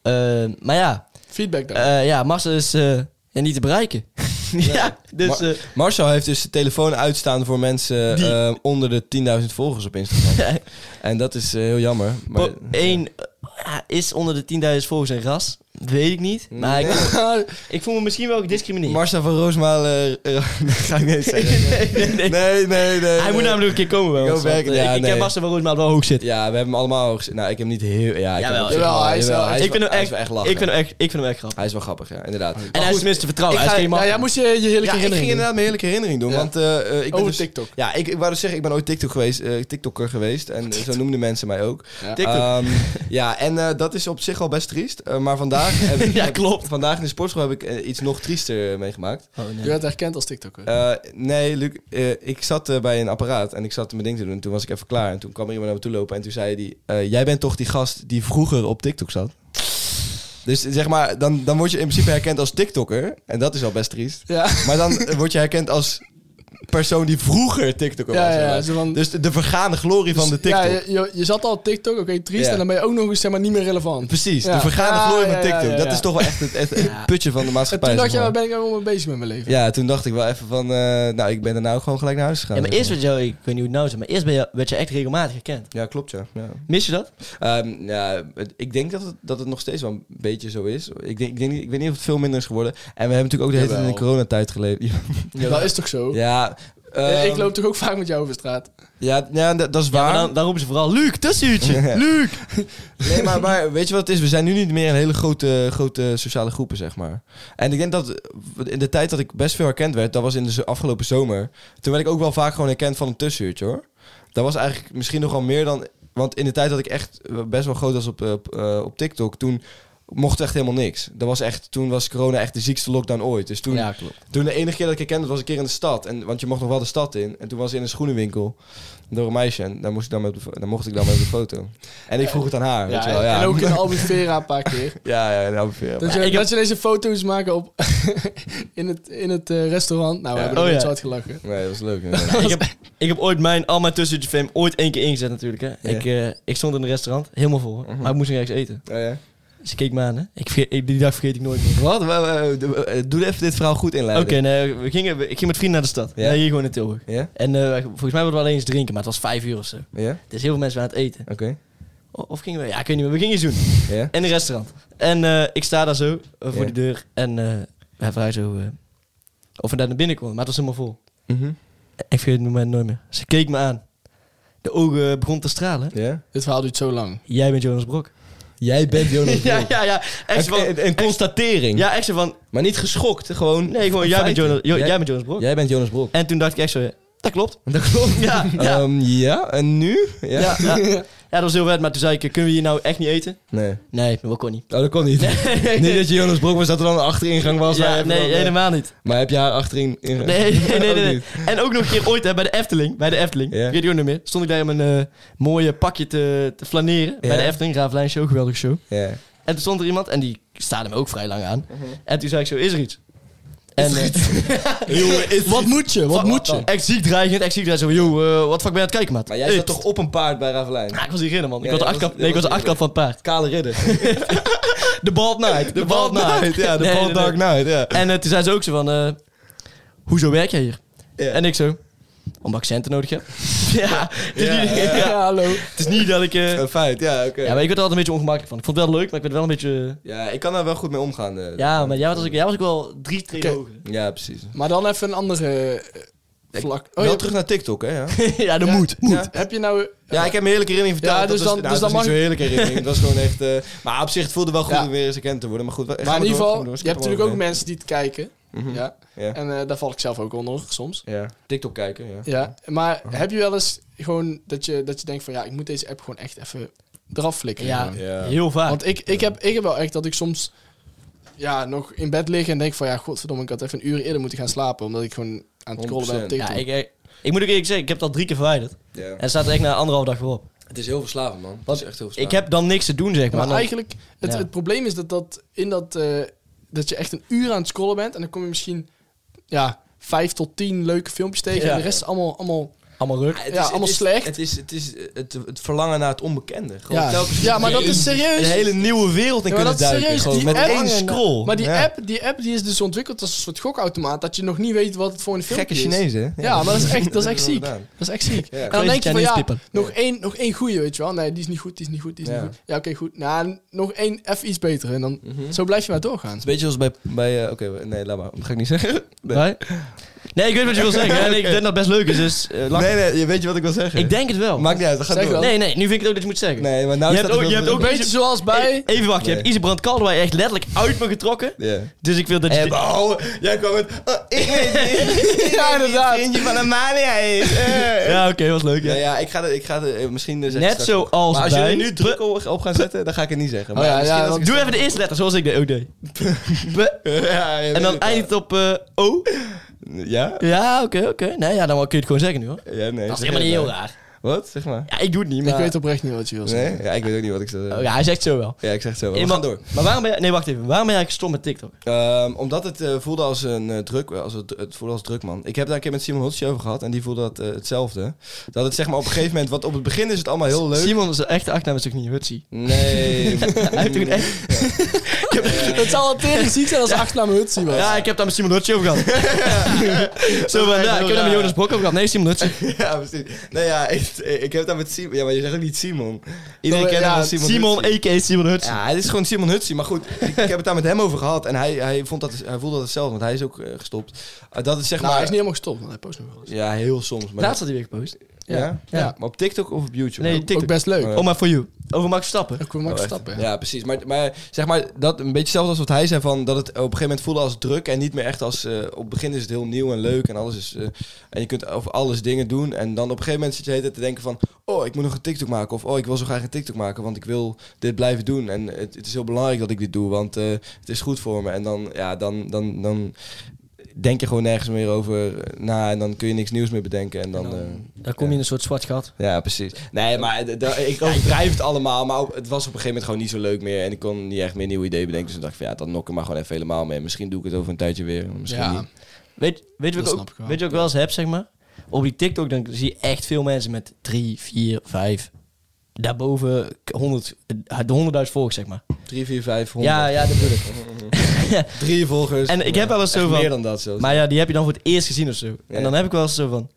Eh, maar ja,
Feedback daar.
eh ja, Marcel is eh, ja, niet te bereiken. ja, dus...
Maar-
eh,
Marcel heeft dus de telefoon uitstaan voor mensen
Die-
eh, onder de 10.000 volgers op Instagram. en dat is eh, heel jammer. Maar,
Eén is onder de 10.000 volgers een ras. Weet ik niet. Maar ik, ik voel me misschien wel gediscrimineerd.
Marcel van Roosmalen... eh, dat ga ik niet eens zeggen.
Nee, nee, nee.
Nee, nee, nee.
Hij moet
nee.
namelijk een keer komen bij
Go
ons. want,
back,
eh,
ja,
ik, ik
nee.
heb Marcel van Roosmaal wel hoog zitten.
Ja, we hebben hem allemaal hoog gezien. Nou, ik heb hem niet heel... Ja,
Jawel,
ik heb hem op zich
jawel,
wel-
hij is wel-
jawel,
hij
ik, vind hem
hij
echt,
wel echt
ik,
lachen.
vind hem echt, ik vind hem echt grappig.
Hij is wel grappig, ja, inderdaad.
En hij is tenminste vertrouwen. oh, Hij is geen
ja, jij moest je, je heerlijke
Ja, ik ging
herinnering
inderdaad mijn heerlijke herinnering doen.
Ja.
Want, eh, eh, ik ben
Over
dus-
TikTok.
Ja, ik, ik wou dus zeggen, ik ben ooit TikTok geweest, eh, TikToker geweest. En eh, zo noemden mensen mij ook.
Ja.
TikTok.
Ehm, ja, en eh, dat is op zich al best triest. eh, maar vandaag... heb ik-
Ja, klopt.
Vandaag in de sportschool heb ik eh, iets nog triester eh, meegemaakt.
Oh, nee.
Je werd herkend als TikToker.
Eh, nee, Luc, eh, ik zat eh, bij een apparaat en ik zat mijn ding te doen. En toen was ik even klaar. En toen kwam er iemand naar me toe lopen en toen zei hij... eh, jij bent toch die gast die vroeger op TikTok zat? Dus zeg maar, dan, dan word je in principe herkend als TikToker. En dat is al best triest.
ja.
Maar dan eh, word je herkend als persoon die vroeger TikToker was.
Ja, ja,
zeg maar.
zo van-
Dus de, de vergane glorie van de TikTok.
Ja, je, je, je zat al op TikTok, oké, triest.
Ja.
En dan ben je ook nog eens zeg maar, niet meer relevant.
Precies,
Ja.
de vergane
Ja,
glorie van
ja,
TikTok.
ja, ja,
Dat
ja.
is toch wel echt het, het, het putje van de
En
maatschappij.
toen dacht je,
zeg
waar
maar.
ben ik allemaal mee bezig met mijn leven?
Ja, toen dacht ik wel even van... eh, nou, ik ben er nou ook gewoon gelijk naar huis gegaan.
Ja, maar
zeg
eerst werd jou, ik weet niet hoe het nou is, maar eerst ben je, werd je echt regelmatig herkend.
Ja, klopt ja. ja.
Mis je dat?
Ehm, ja, het- ik denk dat het, dat het nog steeds wel een beetje zo is. Ik, denk, ik, denk, niet- ik weet niet of het veel minder is geworden. En we hebben natuurlijk ook de hele tijd in de
Jawel.
coronatijd geleefd.
Dat is toch zo?
ja,
Eh, ik
ehm,
loop toch ook vaak met jou over straat?
Ja, ja, dat, dat is
Ja,
waar.
maar dan, dan roepen ze vooral, Luc, tussenuurtje.
Ja.
Luc.
Nee, maar, maar weet je wat het is? We zijn nu niet meer in hele grote, grote sociale groepen, zeg maar. En ik denk dat eh, in de tijd dat ik best veel herkend werd, dat was in de zo- afgelopen zomer. Toen werd ik ook wel vaak gewoon herkend van een tussenuurtje, hoor. Dat was eigenlijk misschien nog wel meer dan... Want in de tijd dat ik echt eh, best wel groot was op, eh, op, eh, op TikTok, toen mocht echt helemaal niks. Dat was echt, toen was corona echt de ziekste lockdown ooit. Dus toen,
Ja, klopt.
toen de enige keer dat ik herkend was, was een keer in de stad. En, want je mocht nog wel de stad in. En toen was ik in een schoenenwinkel door een meisje. En daar, moest ik dan, met, op de fo- daar mocht ik dan mee op de foto. En ik vroeg het aan haar, weet je wel. Ja.
En ook in Albufera een paar keer.
Ja, ja, nou, ongeveer.
Dat, je,
ik heb-
dat ze deze foto's maken op in het, in het eh, restaurant. Nou, we
Ja.
hebben
Oh,
er net
ja.
zo hard gelachen.
Nee, dat was leuk. Oh,
Ik heb, ik heb ooit mijn, al mijn tussenuurtje fame ooit één keer ingezet natuurlijk. Hè. Ik, eh, ik stond in een restaurant, helemaal vol. hè. Maar ik moest nog ergens eten. Ze keek me aan, hè. Ik, verge- ik- die dag vergeet ik nooit meer.
Wat? eh, Doe even dit verhaal goed
Oké,
inleiden.
nee, we gingen, we- ik ging met vrienden naar de stad. Ja.
Ja.
hier gewoon in Tilburg.
Ja?
En eh, volgens mij wilden we alleen eens drinken, maar het was vijf uur of zo.
Ja?
Dus heel veel mensen waren aan het eten.
Oké.
O- Of gingen we? Ja, ik weet niet meer. We gingen iets doen.
Ja?
In een restaurant. En eh, ik sta daar zo eh, voor
Ja.
die deur. En eh, Hij vrij zo... eh, of we daar naar binnen konden, maar het was helemaal vol. Ik vergeet het moment nooit meer. Ze keek me aan. De ogen begon te stralen.
Ja?
Dit verhaal duurt zo lang.
Jij bent Jonas Brok.
Jij bent Jonas Blok.
ja, ja, ja. Echt zo
Even
van...
een, een constatering.
Ja, echt zo van...
Maar niet geschokt, gewoon...
Nee, gewoon, jij bent
feiten.
Jonas, Jo-
Jij-
jij bent Jonas Brok.
Jij bent Jonas Blok.
En toen dacht ik echt zo... ja, Dat klopt.
Dat klopt.
Ja, ja.
Ja, Ehm, ja en nu? Ja.
Ja, ja. ja, dat was heel vet. Maar toen zei ik, eh, kunnen we hier nou echt niet eten?
Nee.
Nee, dat kon niet.
Oh, dat kon niet. Niet dat je Jonas Blok was, dat er dan een achteringang was. waar
Ja,
even
nee,
dan, eh,
helemaal niet.
Maar heb je haar achterin ingang?
Nee, nee, nee.
Ook
nee.
niet.
En ook nog een keer ooit hè, bij de Efteling. Bij de Efteling.
Ja.
Ik weet het ook niet meer. Stond ik daar in mijn eh, mooie pakje te, te flaneren. Bij
Ja.
de Efteling. Ravelijn Show, geweldige show.
Ja.
En toen stond er iemand en die staarde me ook vrij lang aan.
Mhm.
En toen zei ik zo, is er iets? En, eh,
Wat moet je? Wat moet je?
Echt ziek dreigend, echt ziek dreigend. Zo, yo, eh, wat fuck ben je aan het kijken, maat?
Maar jij
Hey,
zat toch op een paard bij Ravelijn?
Ah, ik was die ridder, man. Ik
Ja,
was de
dat
achtkant,
was-
nee, ik was
dat
de
was-
achtkant van het paard.
Kale ridder.
De Bald Knight. De Bald Knight.
Ja, de
Nee,
Bald
nee,
Dark
nee.
Knight, ja.
En eh, toen zei ze ook zo van, eh, hoezo werk jij hier?
Ja.
En ik zo, omdat ik centen nodig heb. ja, het is, niet,
Ja, Oh,
ja,
hallo.
het is niet dat ik... eh,
Een feit, ja, oké.
ja, maar ik werd er altijd een beetje ongemakkelijk van. Ik vond het wel leuk, maar ik werd wel een beetje...
Ja, ik kan daar wel goed mee omgaan. eh.
Ja, maar jij was, jij was ook wel drie treden
Oké.
hoger.
Ja, precies.
Maar dan even een andere eh, vlak. Oh,
wel
ja,
terug naar TikTok, hè? Ja,
ja, dat
Ja.
moet.
ja.
Heb je nou...
Ja, ik heb een heerlijke herinnering verteld.
Ja, dus
dat was,
dan-
nou,
dus
dat was
dan
niet
mag-
zo'n heerlijke herinnering. Het was gewoon echt... eh, maar op zich, het voelde wel goed
Ja.
om weer eens herkend te worden. Maar goed, we-
Maar
gaan
in
we
ieder
door,
geval,
gaan we door,
je hebt
skip
natuurlijk ook
erom
mensen die het kijken.
heen.
Ja.
Mhm. Ja.
En eh, daar val ik zelf ook onder, soms.
Ja. TikTok kijken, ja. Oh.
Ja. Maar heb je wel eens gewoon dat je, dat je denkt van... Ja, ik moet deze app gewoon echt even eraf flikkeren.
Ja,
gewoon.
Ja.
heel vaak.
Want ik, ik, heb, ik heb wel echt dat ik soms... Ja, nog in bed liggen en denk van... Ja, godverdomme, ik had even een uur eerder moeten gaan slapen. Omdat ik gewoon aan het scrollen ben op
100%.
TikTok.
ja, ik, ik, ik moet ook eerlijk zeggen, ik heb dat drie keer verwijderd.
Ja.
En het staat er echt na anderhalf dag voor op.
Het is heel verslavend, man. Het is echt heel
Ik heb dan niks te doen, zeg
Ja,
maar.
maar
Dan-
eigenlijk, het,
ja.
het probleem is dat, dat in dat, eh, dat je echt een uur aan het scrollen bent en dan kom je misschien ja, vijf tot tien leuke filmpjes tegen
Ja.
en de rest is allemaal, allemaal
allemaal ruk.
ja, allemaal slecht.
Het is, het, is eh, het, het verlangen naar het onbekende. Gewoon
ja.
telkens
ja, maar dat
een-
is serieus.
Een hele nieuwe wereld in
Ja,
kunnen
maar dat is
duiken.
serieus.
Gewoon
Die
met
app-
één scroll.
Maar die,
Ja.
app, die app die is dus ontwikkeld als een soort gokautomaat dat je nog niet weet wat het voor een filmpje
Gekke
is.
Chinezen, hè?
Ja, maar dat is echt, dat is echt
hebben
ziek.
we
Dat
gedaan.
is echt ziek.
Ja.
En dan denk je van
Chinese
ja,
people.
nog één, nog één goeie, weet je wel. Nee, die is niet goed, die is niet goed, die is
Ja.
niet goed. Ja, oké, goed. Nou, nog één, even iets beter. En dan,
Mhm.
zo blijf je maar doorgaan.
Het is een beetje als bij... bij eh, Oké, nee, laat maar. Dat ga ik niet zeggen.
Nee.
Nee,
nee, ik weet wat je wil zeggen. En ik denk dat het best leuk is, dus... eh, lach-
nee, nee, je weet je wat ik wil zeggen.
Ik denk het wel.
Maakt niet uit, dat gaat
Zeg
door.
wel.
Nee, nee, nu vind ik het ook dat je het moet zeggen.
Nee, maar nou
Je
staat
hebt ook-
er
je
veel
hebt ook-
druk.
Beetje zoals bij...
E- Even wachten, je
Nee.
hebt Isebrand Calderwij echt letterlijk uit me getrokken.
Ja.
Dus ik wil dat je...
En oh, jij kwam met... oh, ik weet niet.
Ja, inderdaad.
Vriendje van Amalia is. eh.
Ja, oké, was leuk. Oh Ja.
Ja, ja, ik ga, de, ik ga de, eh, misschien... eh, zeg ik
Net
straks
zoals
nog. maar als
bij-
jullie nu druk o- op gaan zetten, dan ga ik het niet zeggen. Maar
Oh ja,
misschien
ja,
als
want-
ik-
Doe even de eerste letter, zoals ik deed. ook deed. Be-
Ja, je
En
weet
dan
het
eindigt het op eh, O.
wel. Ja?
Ja, oké, oké. Nee, ja, dan kun je het gewoon zeggen nu, hoor.
Ja, nee.
Dat is
zeg
helemaal niet heel
maar.
raar.
Wat? Zeg maar.
Ja, ik doe het niet, maar...
Ik weet oprecht niet wat je wil zeggen.
Nee? Ja, ik weet ook niet wat ik zou
Oh,
zeggen.
ja, hij zegt zo wel.
Ja, ik zeg het zo. wel. We
Eenmaal-
gaan door.
Maar waarom ben jij... Nee, wacht even. Waarom ben jij gestopt met TikTok?
Ehm, omdat het eh, voelde als een eh, druk, als het, het voelde als druk man. Ik heb daar een keer met Simon Hotje over gehad en die voelde dat eh, hetzelfde. Dat het zeg maar op een gegeven moment, want op het begin is het allemaal heel leuk.
Simon, zijn echte achternaam is ook niet Hutsie.
Nee.
Hij heeft toen echt...
Het zal wel tering ziek zijn als ja. achternaam Hutsie was.
Ja, ik heb daar met Simon Hutsie over gehad. Zo van,
echt
ja,
heel
ik heb daar
raar.
met Jonas Brok over gehad. Nee, Simon Hutsie.
ja, precies. Nou ja, ik, ik heb daar met Simon. Ja, maar je zegt ook niet Simon. Iedereen
Oh,
kent
ja,
hem als Simon.
Simon,
Hutsie.
a.k.a. Simon Hutsie.
Ja, het is gewoon Simon Hutsie. Maar goed, ik heb het daar met hem over gehad. En hij, hij, vond dat, hij voelde dat hetzelfde, want hij is ook eh, gestopt. Eh, dat is zeg
nou,
maar...
hij is niet helemaal gestopt, want hij post nog wel eens.
Ja, heel soms. Maar
Laatst had hij weer gepost.
ja? Ja.
ja.
Maar op TikTok of op YouTube?
Nee,
Ook
TikTok.
best leuk.
Oh,
Oh, maar for you. Over Max Verstappen.
Ook weer Max
Oh, echt?
Verstappen.
Ja, precies. Maar, maar zeg maar, dat een beetje hetzelfde als wat hij zei van dat het op een gegeven moment voelde als druk en niet meer echt als eh, op het begin is het heel nieuw en leuk en alles is eh, en je kunt over alles dingen doen en dan op een gegeven moment zit je de hele tijd te denken van oh, ik moet nog een TikTok maken of oh, ik wil zo graag een TikTok maken, want ik wil dit blijven doen en het, het is heel belangrijk dat ik dit doe, want eh, het is goed voor me en dan ja, dan dan dan denk je gewoon nergens meer over na en dan kun je niks nieuws meer bedenken en dan, eh,
Dan kom je in een soort zwart gat.
ja, precies. Nee, maar d- d- ik overdrijf het allemaal. Maar op- het was op een gegeven moment gewoon niet zo leuk meer. En ik kon niet echt meer nieuwe ideeën bedenken. Dus ik dacht ik van ja, dan nok ik maar gewoon even helemaal mee. Misschien doe ik het over een tijdje weer. Misschien
Ja.
niet.
Weet, weet, je wat ik
Dat snap
ook,
ik wel.
weet je wat ik wel eens heb, zeg maar? Op die TikTok dan zie je echt veel mensen met 3, 4, 5... Daarboven 100, de 100.000 volgers, zeg maar.
3, 4, 5, 100.
Ja, ja, dat bedoel ik.
Drie volgers.
En ik heb wel eens
Echt
zo van-
Meer dan dat zelfs.
Maar ja, die heb je dan voor het eerst gezien of zo.
Ja.
En dan heb ik wel eens zo van...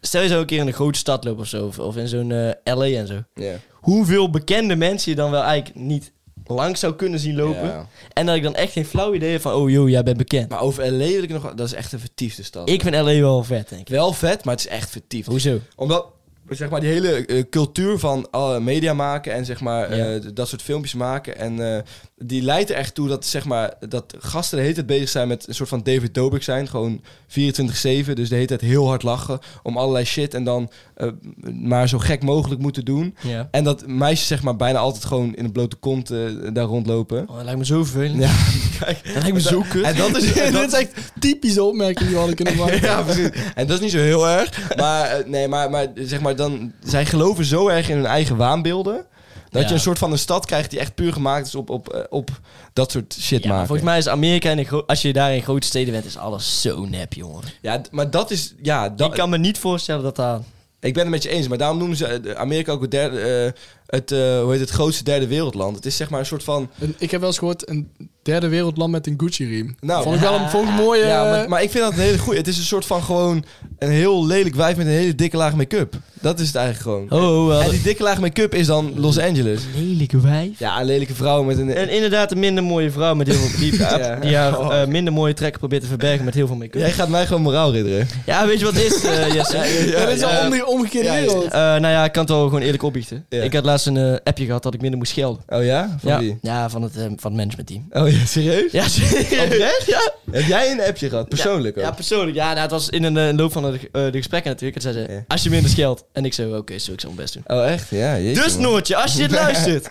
Stel je zou een keer in een grote stad lopen of zo, of, of in zo'n eh, LA en zo.
Ja.
Hoeveel bekende mensen je dan wel eigenlijk niet langs zou kunnen zien lopen.
Ja.
En dat ik dan echt geen flauw idee heb van, oh joh, jij bent bekend.
Maar over LA wil ik nog... Dat is echt een vertiefde stad.
ik vind LA wel vet, denk ik.
Wel vet, maar het is echt vertiefd.
Hoezo?
Omdat zeg maar, die hele eh, cultuur van alle media maken en zeg maar, eh,
Ja.
d- dat soort filmpjes maken. En eh, die leidt er echt toe dat, zeg maar, dat gasten de hele tijd bezig zijn met een soort van David Dobrik zijn. Gewoon 24-7, dus de hele tijd heel hard lachen om allerlei shit. En dan eh, maar zo gek mogelijk moeten doen.
Ja.
En dat meisjes zeg maar, bijna altijd gewoon in een blote kont eh, daar rondlopen.
Oh, dat lijkt me zo vervelend.
Ja,
Dat lijkt me zo kut.
En dat is, en dat
Dit is echt typische opmerking die we hadden kunnen maken.
Ja, precies. En dat is niet zo heel erg. Maar, eh, nee, maar, maar zeg maar, dan, zij geloven zo erg in hun eigen waanbeelden. Dat
Ja.
je een soort van een stad krijgt die echt puur gemaakt is op, op, eh, op dat soort shit
Ja, maar
maken.
volgens mij is Amerika, en als je daar in grote steden bent, is alles zo nep, jongen.
Ja, d- maar dat is... Ja, dat,
ik kan me niet voorstellen dat daar...
Ik ben het met je eens, maar daarom noemen ze eh, Amerika ook het, derde, eh, het, eh, hoe heet het grootste derde wereldland. Het is zeg maar een soort van...
Een- ik heb wel eens gehoord, een derde wereldland met een Gucci-riem.
Nou,
vond ik wel een, vond ik een mooie...
ja,
eh,
maar, maar ik vind dat een hele goeie. Het is een soort van gewoon een heel lelijk wijf met een hele dikke laag make-up. Dat is het eigenlijk gewoon.
Oh,
en die dikke laag make-up is dan Los Angeles.
lelijke wijf.
Ja, een lelijke vrouw met een...
En inderdaad een minder mooie vrouw met heel veel diep.
Ja. Oh.
Die haar eh, minder mooie trekken probeert te verbergen met heel veel make-up.
Jij gaat mij gewoon moraal ridderen.
Ja, weet je wat het is, eh, Jesse?
Ja, dat is
Eh,
een omge- omgekeerde
ja, ja.
wereld.
eh, nou ja, ik kan het wel gewoon eerlijk opbiechten.
Ja.
Ik had laatst een eh, appje gehad dat ik minder moest schelden.
Oh ja? Van
ja.
wie?
ja, van het, eh, van het managementteam.
Oh ja, serieus?
Ja,
Oprecht? Heb jij een appje gehad? Persoonlijk
Ja,
ook?
persoonlijk. Ja, nou, het was in een eh, loop van de, eh, de gesprekken natuurlijk. En zei ze,
Ja.
als je minder scheldt. En ik zo, oké, zo, ik zal mijn best doen.
Oh echt? Ja, jeetje,
Dus
man.
Noortje, als je dit luistert,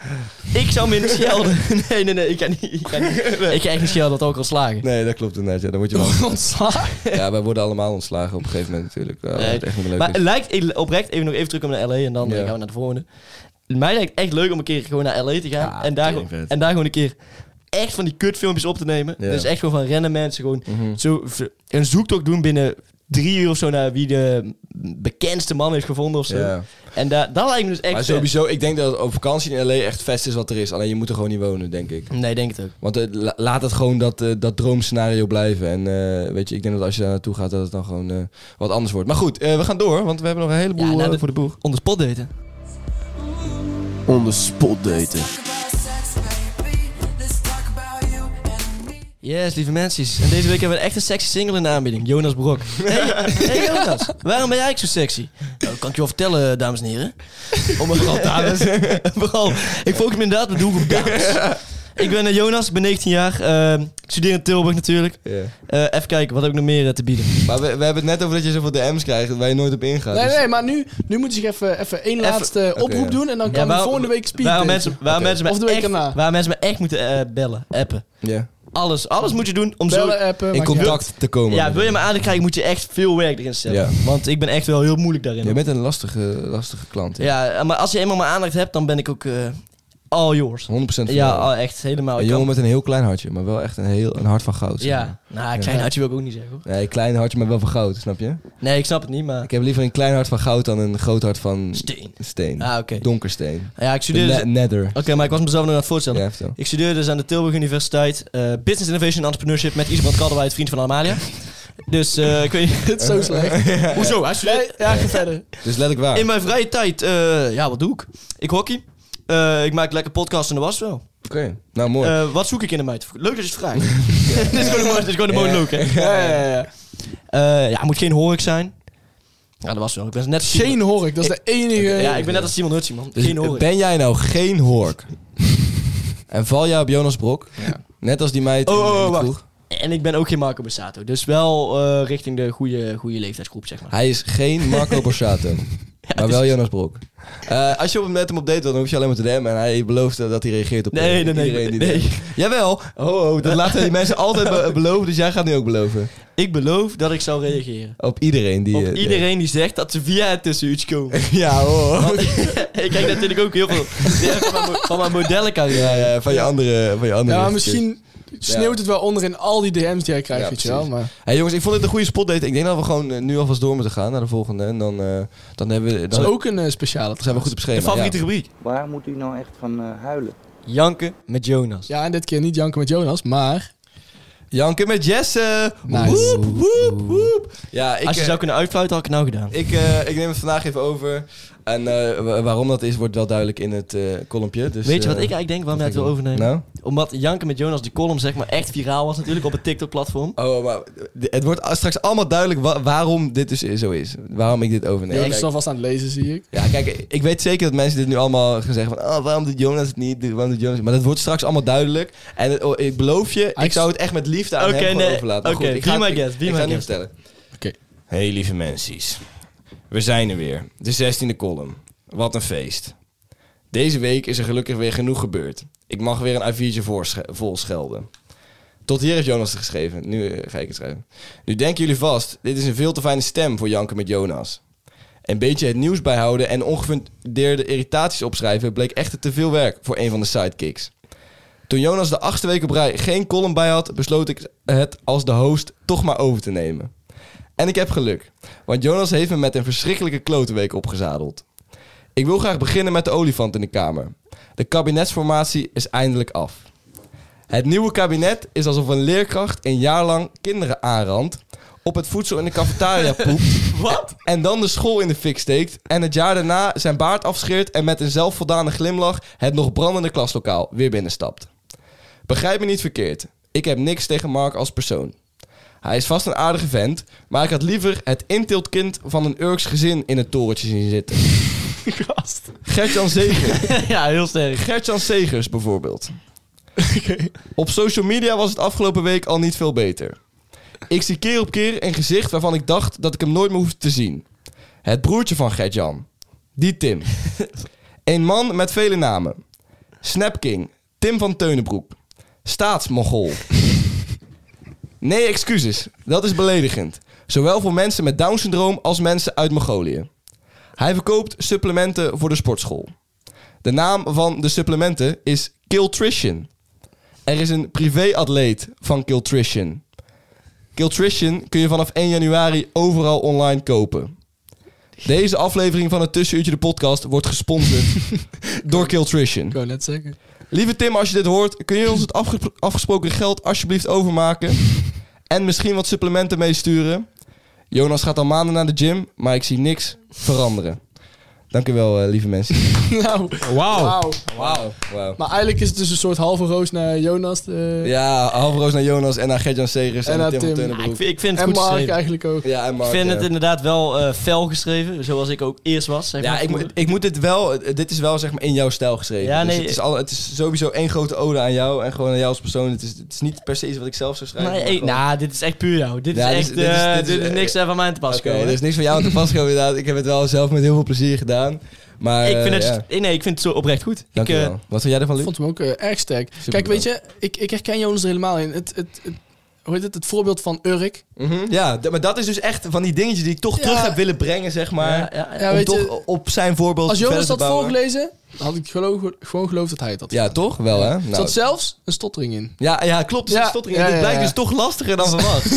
ik zou minder schelden. Nee, nee, nee, ik ga niet. Ik ga, niet, ik ga echt niet schelden, dat ook al slagen.
Nee, dat klopt inderdaad. Ja, dan word je wel...
Ontslagen.
ja, wij worden allemaal ontslagen op een gegeven moment natuurlijk. Ja,
Nee.
dat is echt niet meer leuk
Maar
is.
het lijkt ik- oprecht, even nog even terug om naar LA en dan
Ja.
eh, gaan we naar de volgende. Mij lijkt het echt leuk om een keer gewoon naar LA te gaan
Ja,
en, daar,
tering
gewoon-
vet.
en daar gewoon een keer echt van die kutfilmpjes op te nemen.
Ja.
Dus echt gewoon van rennen mensen, gewoon
Mhm.
zo v- een zoektocht doen binnen drie uur of zo naar wie de bekendste man heeft gevonden of zo.
Ja.
En daar dat lijkt me dus echt...
Maar
vet.
sowieso, ik denk dat het op vakantie in L.A. echt vest is wat er is. Alleen je moet er gewoon niet wonen, denk ik.
Nee, ik denk het ook.
Want eh, la- laat het gewoon dat, eh, dat droomscenario blijven. En eh, weet je, ik denk dat als je daar naartoe gaat, dat het dan gewoon eh, wat anders wordt. Maar goed, eh, we gaan door, want we hebben nog een heleboel
Ja, nou,
eh,
dat-
voor de boeg.
Onder spot daten.
Onder spot daten.
Yes, lieve mensen. En deze week hebben we echt een sexy single in de aanbieding. Jonas Brok. Hey, hey Jonas, waarom ben jij eigenlijk zo sexy? Nou, kan ik je wel vertellen, dames en heren. Oh mijn god, dames. Vooral, ik focus me inderdaad op de doelgroep dames. Ik ben eh, Jonas, ik ben 19 jaar. eh, ik studeer in Tilburg natuurlijk.
Ja.
Eh, even kijken, wat heb ik nog meer eh, te bieden?
Maar we, we hebben het net over dat je zoveel DM's krijgt waar je nooit op ingaat.
Nee,
Dus-
nee, maar nu, nu moet je zich even, even één laatste oproep
ja.
doen en dan kan
Ja,
we
waar-
volgende week speed
Waarom
daten.
mensen, waarom
Oké.
mensen me
Of de week
echt,
erna.
Waar mensen me echt moeten eh, bellen, appen.
Ja.
Alles, alles moet je doen om zo...
Bellen, appen,
In
maakt niet uit.
contact te komen.
Ja, wil je me aandacht krijgen, moet je echt veel werk erin stellen.
Ja.
Want ik ben echt wel heel moeilijk daarin.
Je bent een lastige, lastige klant. Ja.
Ja, maar als je eenmaal mijn aandacht hebt, dan ben ik ook eh all yours.
100% van
Ja,
jou.
al echt helemaal.
Een
Ik
jongen
kan-
met een heel klein hartje, maar wel echt een, heel, een hart van goud. zeg maar.
ja, nou, klein
Ja.
hartje wil ik ook niet zeggen. Hoor.
Nee, klein hartje, maar wel van goud, snap je?
Nee, ik snap het niet, maar...
Ik heb liever een klein hart van goud dan een groot hart van
Steen.
steen.
Ah, oké.
Donkersteen.
Ja, ik
De
studeerde...
ne-
dus-
nether.
Oké, maar ik was mezelf nog aan het voorstellen.
Ja, vertel.
Ik studeerde dus aan de Tilburg Universiteit eh, Business Innovation and Entrepreneurship met Isabel Kadderwijk, vriend van Amalia. Dus eh ik weet
Het is zo slecht.
Hoezo? Hij studeert...
Nee, ja, ga verder.
Dus let ik waar.
In mijn vrije tijd, eh, ja, wat doe ik? Ik hockey. Eh, ik maak lekker podcasts en dat was het wel.
Oké, nou mooi.
Eh, wat zoek ik in een meid? Leuk dat je het vraagt. dit, is gewoon een, mo- dit is gewoon een monoloog, hè?
Ja, ja, ja, ja.
Eh, ja, moet geen hork zijn. Ja, dat was wel. Ik ben net als Simon-
Shane Hork, dat is de enige...
Ja, ik ben net als Simon Hutsie, man.
Dus
geen hork.
ben jij nou geen hork? en val jij op Jonas Brok? Net als die meid
Oh,
in- in
oh,
de
oh, wacht.
kroeg.
En ik ben ook geen Marco Borsato. Dus wel eh, richting de goede, goede leeftijdsgroep, zeg maar.
Hij is geen Marco Borsato. maar wel Jonas Brok. Eh, als je op hem met hem op date wil, dan hoef je alleen maar te DM'en. En hij belooft eh, dat hij reageert op
Nee, nee, nee.
iedereen die
nee.
DM't. Jawel. Oh, oh, dat laten die mensen altijd be- beloven. Dus jij gaat nu ook beloven.
Ik beloof dat ik zal reageren.
Op iedereen die... eh,
Op
DM't.
iedereen die zegt dat ze via het tussenuurtje komen.
Ja, hoor.
Want ik kijk natuurlijk ook heel veel van mijn, mo- van mijn modellencarrière.
Ja, ja, van je andere... Van je andere
Ja, maar
richting.
misschien sneeuwt het wel onder in al die DM's die jij krijgt,
Ja,
weet je wel.
precies.
Maar
Hey jongens, ik vond dit een goede spotdate. Ik denk dat we gewoon eh, nu alvast door moeten gaan naar de volgende. En dan, eh, dan, hebben we,
dat
dan
is ook een eh, speciale.
zijn we goed op
Een
schema.
favoriete rubriek.
Waar moet u nou echt van eh, huilen?
Janken met Jonas.
Ja, en dit keer niet janken met Jonas, maar...
Ja. Janken met Jesse.
Nice.
Woep, woep, woep. Ja, ik,
Als je
eh,
zou kunnen uitfluiten, had ik het nou gedaan.
ik, eh, ik neem het vandaag even over. En eh, wa- waarom dat is, wordt wel duidelijk in het eh kolompje. Dus,
Weet je wat
eh,
ik eigenlijk denk waarom jij het
wat
wil
ik-
overnemen?
Nou?
Omdat Janken met Jonas de column zeg maar echt viraal was natuurlijk op het TikTok-platform.
Oh, maar het wordt straks allemaal duidelijk wa- waarom dit dus zo is. Waarom ik dit overneem.
Jonas
Kijk,
is alvast aan het lezen, zie ik.
Ja, kijk, ik weet zeker dat mensen dit nu allemaal gaan zeggen van... Oh, waarom doet Jonas het niet? Waarom doet Jonas het? Maar dat wordt straks allemaal duidelijk. En het- oh, ik beloof je, ik
Hij-
zou het echt met liefde aan
Oké,
hem gewoon
nee.
overlaten. Maar
Oké,
goed, ik
be
ga,
my
ik-
guest, be
ik
my
ga het nu
guest.
vertellen.
Oké.
Hey, lieve mensen. We zijn er weer. De 16e column. Wat een feest. Deze week is er gelukkig weer genoeg gebeurd. Ik mag weer een A4'tje voorsche- vol schelden. Tot hier heeft Jonas het geschreven. Nu eh, ga ik het schrijven. Nu denken jullie vast, dit is een veel te fijne stem voor Janken met Jonas. Een beetje het nieuws bijhouden en ongefundeerde irritaties opschrijven bleek echter te veel werk voor een van de sidekicks. Toen Jonas de achtste week op rij geen column bij had, besloot ik het als de host toch maar over te nemen. En ik heb geluk, want Jonas heeft me met een verschrikkelijke klote week opgezadeld. Ik wil graag beginnen met de olifant in de kamer. De kabinetsformatie is eindelijk af. Het nieuwe kabinet is alsof een leerkracht een jaar lang kinderen aanrandt, op het voedsel in de cafetaria poept. Wat? En dan de school in de fik steekt en het jaar daarna zijn baard afscheert en met een zelfvoldane glimlach het nog brandende klaslokaal weer binnenstapt. Begrijp me niet verkeerd, ik heb niks tegen Mark als persoon. Hij is vast een aardige vent, maar ik had liever het intiltkind van een Urks gezin in het torentje zien zitten.
Gast.
Gert-Jan Zeger.
ja, heel sterk.
Gertjan Segers bijvoorbeeld. Op social media was het afgelopen week al niet veel beter. Ik zie keer op keer een gezicht waarvan ik dacht dat ik hem nooit meer hoefde te zien. Het broertje van Gertjan. Die Tim. Een man met vele namen. Snapking. Tim van Teunenbroek. Staatsmogol. Nee, excuses. Dat is beledigend. Zowel voor mensen met Down-syndroom als mensen uit Mongolië. Hij verkoopt supplementen voor de sportschool. De naam van de supplementen is Kiltrition. Er is een privéatleet van Kiltrition. Kiltrition kun je vanaf 1 januari overal online kopen. Deze aflevering van het Tussenuurtje de podcast wordt gesponsord door Kiltrition.
Ik wou net zeggen.
Lieve Tim, als je dit hoort, kun je ons het afge- afgesproken geld alsjeblieft overmaken? En misschien wat supplementen meesturen? Jonas gaat al maanden naar de gym, maar ik zie niks veranderen. Dank u wel, eh, lieve mensen.
nou,
Wauw.
wauw.
Wauw. Wow.
Maar eigenlijk is het dus een soort halve roos naar Jonas. eh,
Ja, halve roos naar Jonas en naar Gert-Jan Segers en,
En
naar
naar
Tim, van
Tim.
Ja, Ah, ik,
Teunenbroek.
vind- ik vind het
En
goed
Mark
geschreven.
eigenlijk ook.
Ja, en
Ik
Mark.
vind het
ja.
inderdaad wel eh, fel geschreven, zoals ik ook eerst was. zeg
ja,
maar.
ik, moet- ik moet dit wel... Dit is wel zeg maar in jouw stijl geschreven.
Ja,
Dus
nee,
het, is al, het is sowieso één grote ode aan jou en gewoon aan jou als persoon. Het is, het is niet per se iets wat ik zelf zou schrijven.
Nee,
maar
ik-
gewoon-
nou, dit is echt puur jou. Dit
Ja,
is
dit is-
echt,
dit is-
eh,
dit is-
dit is niks eh, van mij aan te pas
Oké,
komen.
er is niks van jou aan te pas gekomen inderdaad. Ik heb het wel zelf met heel veel plezier gedaan. Maar
ik, vind
eh,
het,
ja,
nee, ik vind het zo oprecht goed.
dank
ik,
je
eh,
wel. Wat vind jij ervan,
Ik
Luc?
vond hem ook eh, erg sterk.
Super
Kijk, weet je, ik, ik herken Jonas er helemaal in. Het, het, het, hoe heet het? Het voorbeeld van Urk.
Mhm. Ja, d- maar dat is dus echt van die dingetjes die ik toch
Ja.
terug heb willen brengen, zeg maar.
ja, ja, ja.
Ja,
om
weet
toch
je,
op zijn voorbeeld
als
verder
Jonas
te
dat
bouwen.
voorgelezen, dan had ik geloof, gewoon geloofd dat hij het had.
Ja, toch? Wel, hè?
Er
Nou,
zat zelfs een stottering in.
Ja, ja klopt. Dus
Ja,
ja, stottering.
ja,
En dit
ja,
blijkt
ja.
dus toch lastiger dan verwacht.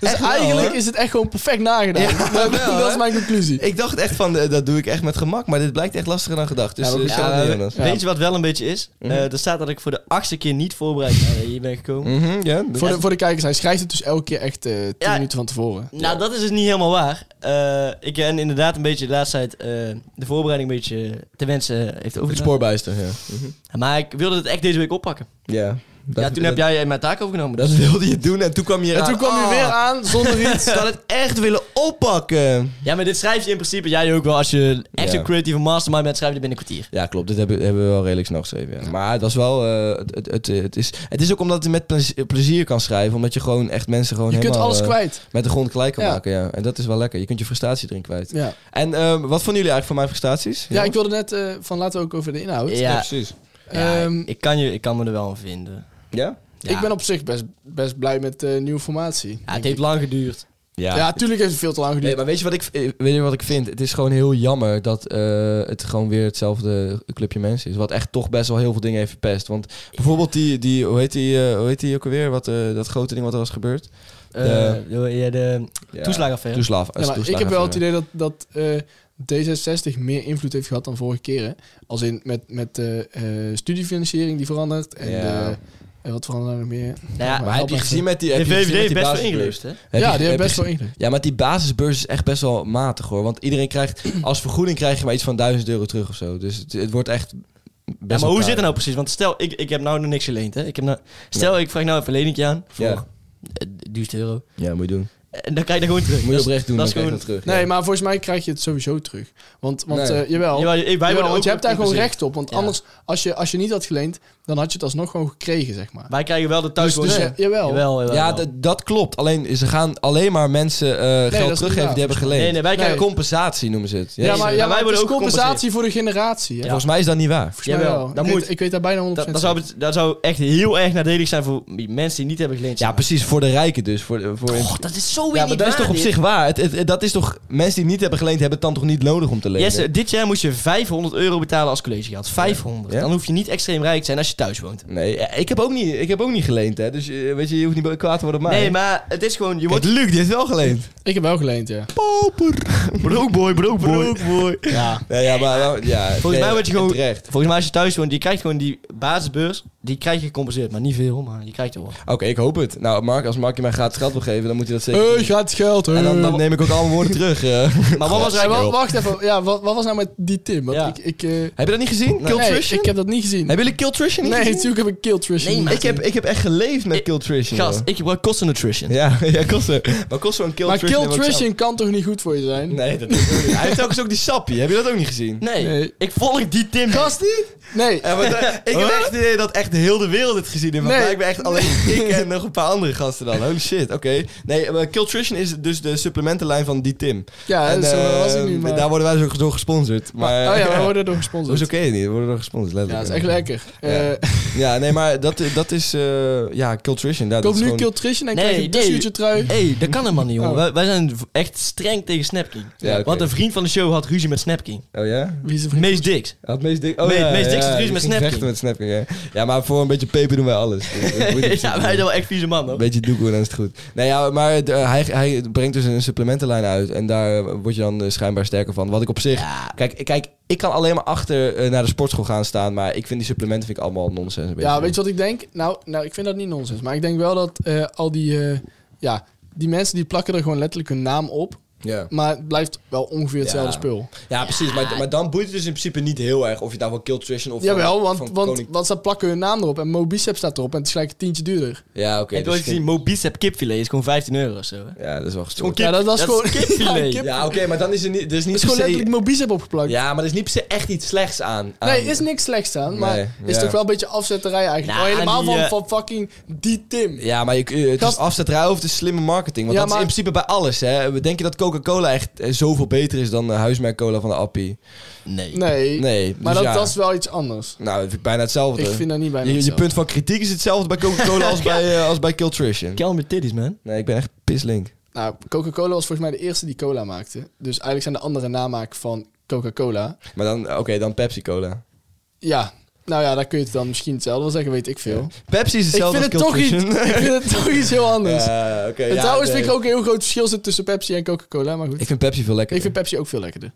Dus
Echt wel,
eigenlijk
hè?
is het echt gewoon perfect nagedaan.
Ja,
dat,
wel,
dat
hè?
is mijn conclusie.
ik dacht echt van, eh, dat doe ik echt met gemak. Maar dit blijkt echt lastiger dan gedacht. Dus
Ja,
ja,
maar goed,
ja, we-
Jonas.
Ja.
Weet je wat wel een beetje is? Eh, er staat dat ik voor de achtste keer niet voorbereid naar hier ben gekomen.
Mhm, ja, dat-
Voor de, voor de kijkers, hij schrijft het dus elke keer echt eh tien
Ja.
minuten van tevoren.
Nou, dat is dus niet helemaal waar. Eh, ik ben inderdaad een beetje de laatste tijd eh, de voorbereiding een beetje te wensen heeft
Het
overgedaan.
spoorbijster, ja.
Maar ik wilde het echt deze week oppakken.
Ja,
ja, toen heb jij mijn taak overgenomen.
Dat
Dus
wilde je doen en toen kwam je
En toen kwam hij
Oh.
weer aan zonder iets.
Ik had het echt willen oppakken.
Ja, maar dit schrijf je in principe, jij ook wel, als je echt
Ja.
een creatieve mastermind bent, schrijf je dit binnen een kwartier.
Ja, klopt. Dit hebben, hebben we wel redelijk snel geschreven. Ja. Maar het was wel. eh, het, het, het, het is, het is ook omdat het met plez- plezier kan schrijven. Omdat je gewoon echt mensen gewoon
Je kunt
helemaal
alles
eh,
kwijt.
met de grond gelijk kan
Ja.
maken. Ja. En dat is wel lekker. Je kunt je frustratie erin kwijt.
Ja,
En ehm, wat vonden jullie eigenlijk van mijn frustraties?
ja ik wilde net eh, van laten we ook over de
Oh,
inhoud.
Ja,
precies.
Ja,
Ehm,
ik, kan je, ik kan me er wel aan vinden.
Ja?
Ja.
Ik ben op zich best, best blij met de nieuwe formatie.
Ja, het heeft lang geduurd.
ja. tuurlijk heeft het veel te lang
Nee,
geduurd.
maar weet je, wat ik, eh, weet je wat ik vind? Het is gewoon heel jammer dat eh, het gewoon weer hetzelfde clubje mensen is. Wat echt toch best wel heel veel dingen heeft verpest. Want bijvoorbeeld die, die hoe, heet die eh, hoe heet die ook alweer? Wat, eh, dat grote ding wat er was gebeurd.
Eh, de, ja, de
Ja.
toeslagaffaire.
Toeslaaf.
Ja, maar ik heb wel het idee dat, dat eh, D66 meer invloed heeft gehad dan vorige keren. Als in met, met de eh, studiefinanciering die verandert en
Ja.
de En wat verandert er nog meer?
Nou ja,
Maar heb je gezien met die... heb
de
je gezien
VVD
met
heeft
die
best wel
basisbeurs?
ingelust, hè?
Heb je-
ja, die
heb
hebben
je
best wel ingeleid.
Ja, maar die basisbeurs is echt best wel matig hoor. Want iedereen krijgt als vergoeding krijg je maar iets van 1000 euro terug of zo. Dus het, het wordt echt. Best
Ja, maar
wel
hoe
karig.
zit het nou precies? Want stel, ik, ik heb nou nog niks geleend, hè? Ik heb nou, stel, ik vraag nou even een leningje aan voor
Ja.
ja. 1000 euro.
nou?
Ja, moet je doen.
En dan krijg je dat gewoon terug.
Moet je
Dat is-
oprecht doen.
dat
Dan
is
krijg je dat
gewoon...
terug.
Nee,
ja.
maar volgens mij krijg je het sowieso terug. Want, want
Nee.
eh, jawel,
Ja, wij
Jawel,
worden ook
want je hebt daar gewoon
gecompenseerd.
recht op. Want
Ja.
anders, als je, als je niet had geleend, dan had je het alsnog gewoon gekregen, zeg maar.
Wij krijgen wel de thuiswoning.
Dus- dus ja- jawel.
jawel, jawel.
Ja,
jawel.
d- dat klopt. Alleen ze gaan alleen maar mensen eh,
dat is
geld
niet
teruggeven
waar.
die hebben geleend.
Nee, nee, wij
Nee.
krijgen...
Compensatie noemen ze het.
Ja,
Jezus.
maar,
Ja,
ja,
Nou, wij
maar het
worden
is
ook
compensatie voor de generatie. Hè?
Ja.
Volgens mij is dat niet waar.
Volgens mij
Jawel,
wel.
dat
ik,
moet-
weet, ik weet daar bijna 100%
Dat, dat, zou, bet- dat zou echt heel erg nadelig zijn voor die mensen die niet hebben geleend.
Ja, precies. Voor de rijken dus. Voor, voor
Och, dat is zo weer
ja, maar
niet
dat is
waar,
toch op
dit.
zich waar. Het, het- het- dat is toch, mensen die het niet hebben geleend, hebben het dan toch niet nodig om te lenen?
Jesse, dit jaar moest je 500 euro betalen als collegegeld. 500.
Ja.
Dan hoef je niet extreem rijk te zijn als je thuis woont.
Nee, ja, ik heb ook niet, ik heb ook niet geleend, hè. Dus eh, weet je, je hoeft niet kwaad te worden op mij.
Nee, maar het is gewoon... Je
Kijk,
wordt...
Luc, die heeft wel geleend.
Ik heb wel geleend, ja.
Broekboy, broekboy. Broekboy.
Ja,
Nee, ja, maar, nou, ja,
Volgens
nee,
mij word je gewoon-
terecht.
Volgens mij als je thuis woont, je krijgt gewoon die basisbeurs. Die krijg je gecompenseerd. Maar niet veel, maar je krijgt er wel.
Oké, ik hoop het. Nou, Mark, als Mark je mij gratis geld wil geven, dan moet je dat zeker
Eh,
doen.
gaat geld, hè.
En dan, dan neem ik ook al mijn woorden terug. eh.
Maar wat was
Hey,
hij
wa-
wel?
wacht even, ja, wat, wat was nou met die Tim? Want
Ja.
ik, ik, eh, nee,
Heb je dat niet gezien? Kill Trishan?
ik heb dat niet gezien.
Hebben jullie Kill Trishan niet
nee,
gezien?
natuurlijk heb ik Kill Trish.
Nee, maar-
Ik heb, ik heb echt geleefd met
Ik-
Kill Trishan.
Gast,
joh.
ik gebruik kosten nutrition.
Ja, ja, kosten. Maar kost zo'n Kill
maar
Trishan...
Kill
heb ik zelf-
Trishan kan toch niet goed voor je zijn?
Nee, dat is ook niet. Hij heeft telkens ook die sappie. Heb je dat ook niet gezien?
Nee,
Nee.
ik volg die Tim.
Gast niet? Nee.
Ja, maar dat- ik heb echt het idee dat echt heel de wereld het gezien heeft. Maar
Nee.
blijkbaar echt alleen ik en nog een paar andere gasten dan. Holy shit, oké. Nee, maar Kiltrition is dus de supplementenlijn van die Tim.
Ja,
En,
Ah, zo
eh,
was ik nu, maar...
Daar worden wij dus ook door gesponsord. Maar,
oh ja, we
ja.
worden door
Dat is
gesponsord.
oké niet, we worden door gesponsord,
Ja,
letterlijk.
dat is echt lekker. Eh,
Ja, nee, maar dat, dat is... eh ja, Kiltrition. Ja, dat
Koop
is
nu
gewoon-
Kill Trish en
Nee,
krijg je een
nee.
dussuurtje trui.
Hé, hey, dat kan helemaal niet, jongen.
Oh.
Wij, wij zijn v- echt streng tegen Snapking.
Ja, oké.
Want een vriend van de show had ruzie met Snapking.
Oh ja?
Wie is er
Mees Dix.
Had meest dik... Oh,
Meest-
ja,
meest
ja,
dikste
ja,
truus
die
met
ging
Snapking.
vechten met Snapking, ja. Ja, maar voor een beetje peper doen wij alles. Dat- dat moet je niet
ja, wij zijn wel echt vieze man,
Een
hoor.
beetje doekoe en dan is het goed. Nee, ja, maar het, eh, hij, hij brengt dus een supplementenlijn uit. En daar eh, word je dan eh, schijnbaar sterker van. Wat ik op zich... Kijk, kijk, ik kan alleen maar achter eh, naar de sportschool gaan staan. Maar ik vind die supplementen vind ik allemaal nonsens. een beetje.
Ja, weet je wat ik denk? Nou, nou ik vind dat niet nonsens. Maar ik denk wel dat eh, al die... eh, ja, die mensen die plakken er gewoon letterlijk hun naam op.
Ja.
Maar het blijft wel ongeveer hetzelfde
Ja.
spul.
ja, precies. Maar, maar dan boeit het dus in principe niet heel erg... of je daar van Kill Tradition of
Jawel,
van,
want,
van
want,
Koning-
want ze plakken hun naam erop. En Mo Bicep staat erop. En het is gelijk een tientje duurder.
Ja, oké.
Ik heb
dus
ooit gezien, Mo Bicep kipfilet is gewoon 15 euro of zo. hè.
Ja, dat is wel gestoord.
Kip-
ja, dat, dat is
dat
gewoon...
is kipfilet.
Ja,
Ja, oké, maar dan is er niet... Dus niet
Het is gewoon
per se-
letterlijk Mo Bicep opgeplakt.
Ja, maar er is niet per se echt iets slechts aan. aan-
Nee, is niks slechts aan. Maar
Nee,
is
ja.
toch wel een beetje afzetterij eigenlijk.
Nou,
oh, helemaal
die,
van,
eh,
van fucking die Tim.
Ja, maar je, eh, het is
Gast-
afzetterij of het is slimme marketing. Want
Ja,
dat
maar-
is in principe bij alles. Hè. Denk je dat Coca-Cola echt eh, zoveel beter is dan eh, huismerk cola van de Appie?
Nee.
Nee.
Nee,
Maar
dus
dat,
ja.
dat is wel iets anders.
Nou, dat vind ik bijna hetzelfde.
Ik vind dat niet bij
je, je
mezelf.
punt van kritiek is hetzelfde bij Coca-Cola als bij, eh, als bij Kiltrition.
Kalm je titties, man.
Nee, ik ben echt pislink.
Nou, Coca-Cola was volgens mij de eerste die cola maakte. Dus eigenlijk zijn de andere namaak van Coca-Cola.
Maar dan, oké, dan Pepsi-Cola.
Ja, nou ja, daar kun je het dan misschien hetzelfde wel zeggen, weet ik veel.
Pepsi is
Ik,
hetzelfde
vind het
als
toch iets,
Kiltrition.
ik vind het toch iets heel anders.
Ja, oké,
en
ja,
trouwens
nee.
vind ik ook een heel groot verschil zit tussen Pepsi en Coca-Cola, maar goed.
Ik
Ik,
vind Pepsi veel lekkerder.
vind Pepsi ook veel lekkerder.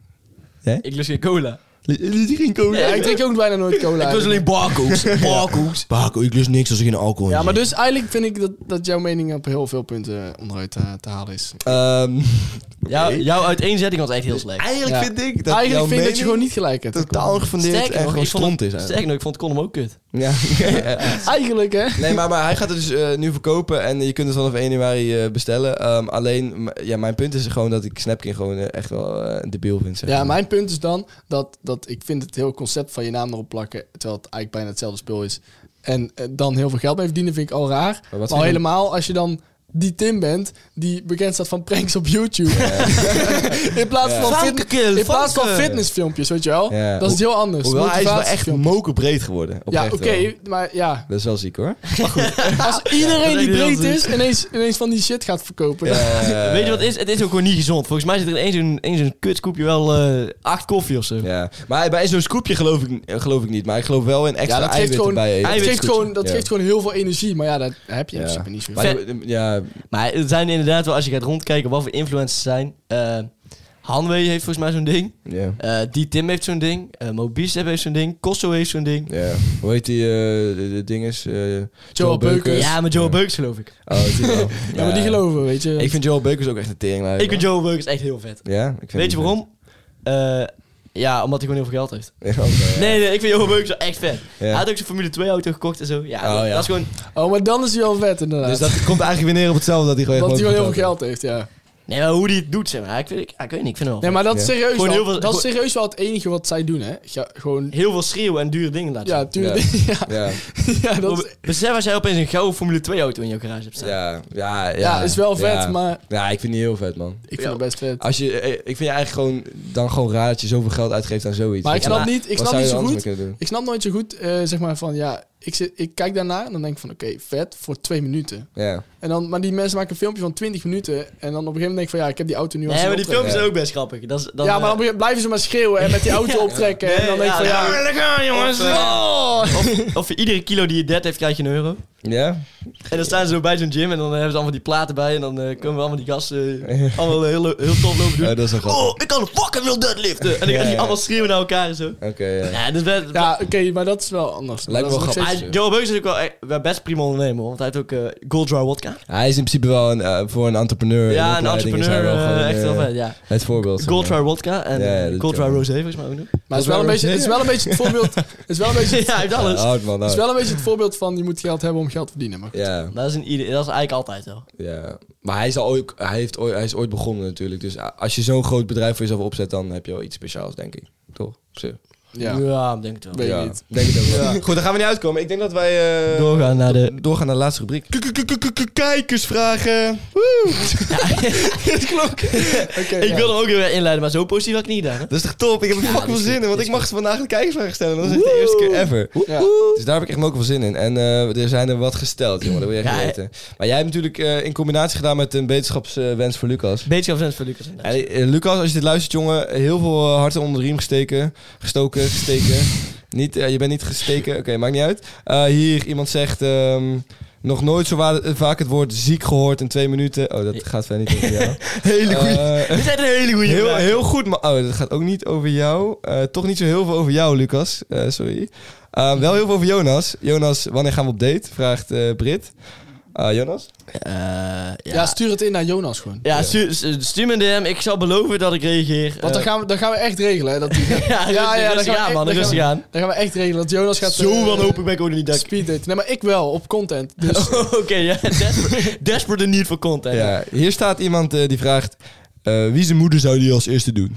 Ik lust geen cola.
Die ging cola.
Ja, ik drink ook bijna nooit cola.
Ik lust alleen barco's. Barco's.
Paco, ik lust niks als ik geen alcohol
ja,
in
maar
zit.
dus eigenlijk vind ik dat, dat jouw mening op heel veel punten onderuit eh, te, te halen is.
Ehm,
Jou,
oké.
jouw uiteenzetting was echt heel slecht.
Eigenlijk
Ja.
vind ik dat
eigenlijk
jouw
vind ik dat je
mening
gewoon niet gelijk hebt.
totaal gefundeerd
Sterker
en
nog,
gewoon
ik vond het-
stront is. eigenlijk.
Sterker nog, ik vond Colum ook kut.
Ja.
Eigenlijk, hè?
nee, maar, maar hij gaat het dus eh, nu verkopen en je kunt het vanaf 1 januari eh, bestellen. Ehm, alleen, m- ja, mijn punt is gewoon dat ik Snapkin gewoon eh, echt wel eh, een debiel vind. Zeg.
Ja,
maar.
mijn punt is dan dat, dat ik vind het heel concept van je naam erop plakken, terwijl het eigenlijk bijna hetzelfde spul is. En eh, dan heel veel geld mee verdienen vind ik al raar.
wat
Maar,
vind
al
je-
helemaal als je dan die Tim bent die bekend staat van pranks op YouTube. in plaats van, fit-
Varkenkill,
in plaats van
varken.
fitnessfilmpjes, weet je wel?
Ja.
Dat is iets heel anders.
Hoewel, hij is wel echt
Motivatiefilmpjes.
mokerbreed geworden.
Ja,
oprecht
oké,
wel.
maar ja.
Dat is wel ziek hoor.
Als iedereen
dat denk ik
die breed
wel
is, ineens, ineens van die shit gaat verkopen. dan-
Eh,
Weet je wat het is? Het is ook gewoon niet gezond. Volgens mij zit er in één zo'n- één zo'n kutkoepje wel eh, acht koffie of zo.
Ja. Maar bij zo'n scoopje geloof ik, eh, geloof ik niet. Maar ik geloof wel in extra
Ja, dat geeft
eiwitten
gewoon,
bij
dat
eten.
geeft gewoon, dat
Ja.
geeft gewoon heel veel energie. Maar ja, dat heb je in
Ja.
principe niet veel.
Maar, ja,
Maar er zijn inderdaad wel, als je gaat rondkijken wat voor influencers er zijn. eh, Hanwee heeft volgens mij zo'n ding.
Ja.
Eh die Tim heeft zo'n ding. Eh Mobies heeft zo'n ding. Kosso heeft zo'n ding.
Ja. Hoe heet die eh, de, de ding is? eh,
Joel Beukers.
Ja, met Joe Beukers geloof ik.
Oh, die wel.
Ja, maar die geloven, we, weet je.
Ik vind Joel Beukers ook echt een teringlijn.
Ik vind Joe Beukers echt heel vet.
Ja? Ik vind
Weet je
die
waarom? Eh, ja, omdat hij gewoon heel veel geld heeft.
vet. Ja, oké, ja.
Nee, nee, ik vind Joe Beukers wel echt vet.
Ja.
Hij had ook zijn Formule 2 auto gekocht en zo. Ja,
Oh,
dat-
ja.
dat is gewoon...
Oh, maar dan is hij al vet inderdaad.
Dus dat komt eigenlijk weer neer op hetzelfde dat hij gewoon
dat hij wel
gewoon
heel veel geld heeft, ja.
Nee, maar hoe die het doet, zeg maar. Ik, vind, ik, ja, ik weet niet, ik vind het wel
Nee, maar dat is
Ja.
serieus,
Gewoon
wel,
heel veel-
dat is serieus wel het enige wat zij doen, hè. Ja, gewoon...
vet. Heel veel schreeuwen en dure dingen laten
Ja,
zien.
tuurlijk. Ja,
Ja,
ja, dat is,
Robert, Besef als jij opeens een gouden Formule 2 auto in jouw garage hebt staan.
ja, ja, ja.
ja, is wel vet,
ja.
maar
Ja, ik vind die heel vet, man.
ik vind het best vet.
Als je, eh, ik vind je eigenlijk gewoon, dan gewoon raar dat je zoveel geld uitgeeft aan zoiets.
Maar ik
Wat-
snap
maar-
niet, ik
wat zou
snap niet
je er
zo
anders
goed...
mee kunnen doen?
Ik snap nooit zo goed, eh, zeg maar, van ja, ik, zit, ik kijk daarna en dan denk ik van oké, vet voor twee minuten.
Ja.
En dan, maar die mensen maken een filmpje van 20 minuten en dan op een gegeven moment denk ik van ja, ik heb die auto nu al
Nee,
zien
maar die
optrekken.
filmpjes zijn
Ja.
ook best grappig. Dat is, dan, eh,
Ja, maar dan begin- blijven ze maar schreeuwen en met die auto optrekken en dan denk ik van ja...
gaan jongens.
Of, eh,
Of, of voor iedere kilo die je dead heeft, krijg je een euro.
Ja?
En dan staan ze zo bij zo'n gym en dan eh, hebben ze allemaal die platen bij. En dan eh, komen we allemaal die gasten eh, allemaal heel, heel tof lopen doen.
Ja, dat is wel grappig.
oh, ik kan fucking veel deadliften. En dan
Ja,
gaan
ja.
die allemaal schreeuwen naar elkaar en zo.
Oké, ja.
Ja, dus best,
Ja, oké, maar dat is wel anders.
Lijkt me
Dat is
wel
nog
Maar
grappig.
steeds-
Joe Beukers is ook wel echt- wel best prima ondernemer, hoor, want hij heeft ook eh, Gold Dry Wodka.
Hij is in principe wel een, eh, voor een entrepreneur. in
Ja, een
opleiding is hij
entrepreneur,
wel gewoon,
eh, echt wel
eh,
vet, ja.
Het voorbeeld. zeg
Gold Dry
maar.
Wodka en
Ja, ja,
eh,
dat
Gold Dry
kan.
Rosé, volgens mij ook nog.
Maar het is wel een beetje, het is wel een beetje het voorbeeld... Het is wel een beetje...
Ja, hij heeft alles.
Houd man,
Het
houd.
is wel een beetje het voorbeeld van je moet geld hebben om geld te verdienen. Maar goed.
Ja,
Dat is, in ieder, dat is eigenlijk altijd wel.
ja. Maar hij is, al ooit, hij, heeft ooit, hij is ooit begonnen natuurlijk. Dus a- als je zo'n groot bedrijf voor jezelf opzet, dan heb je wel iets speciaals, denk ik. Toch? Op zich.
ja.
ik denk het wel.
Weet ik
ja.
niet.
Denk het ook wel. Goed, daar gaan we niet uitkomen. Ik denk dat wij eh,
Doorgaan naar de...
doorgaan naar de laatste rubriek. Kijkersvragen.
Oké,
Ik
ja.
wil hem ook weer inleiden, maar zo positief had ik niet gedaan. hè.
Dat is toch top? Ik heb er fucking veel
dat is
zin in, want
is
ik mag vandaag de kijkersvragen stellen. Dat is echt de eerste keer ever.
Ja.
Dus daar heb ik echt ook wel zin in. En eh, er zijn er wat gesteld, jongen. Dat wil je echt
Ja,
niet weten. Maar jij hebt natuurlijk eh, in combinatie gedaan met een wetenschapswens voor Lucas.
Beetje afzend voor Lucas.
En, eh, Lucas, als je dit luistert, jongen, heel veel eh, harten onder de riem gesteken. Gestoken, gesteken. niet, eh, je bent niet gesteken. Oké, maakt niet uit. Eh, hier, iemand zegt... ehm, nog nooit zo wa- eh, vaak het woord ziek gehoord in twee minuten. Oh, dat gaat verder niet over jou.
Hele goeie.
Eh,
Dit zijn een hele goede
heel, heel goed, maar oh, dat gaat ook niet over jou. Eh, toch niet zo heel veel over jou, Lucas. Eh, sorry. Eh, wel heel veel over Jonas. Jonas, wanneer gaan we op date? Vraagt eh, Brit. Ah, Jonas?
ja,
Ja,
ja,
stuur het in naar Jonas gewoon.
stu- stu- stuur me een DM. Ik zal beloven dat ik reageer.
Want dan
Eh,
gaan we, dan gaan we echt regelen. Hè, dat die-
ja, ja,
ja, dan
rustig
gaan we-
aan, man.
dan gaan we-
Rustig aan.
dan gaan we echt regelen dat Jonas gaat...
Zo
eh,
wanhopig ben ik ook niet dat ik-
Speeddate. Nee, maar ik wel, op content. Dus
Oh, Oké, ja. Desperate, desperate need for content.
Ja, hier staat iemand eh, die vraagt... eh, wie zijn moeder zou die als eerste doen?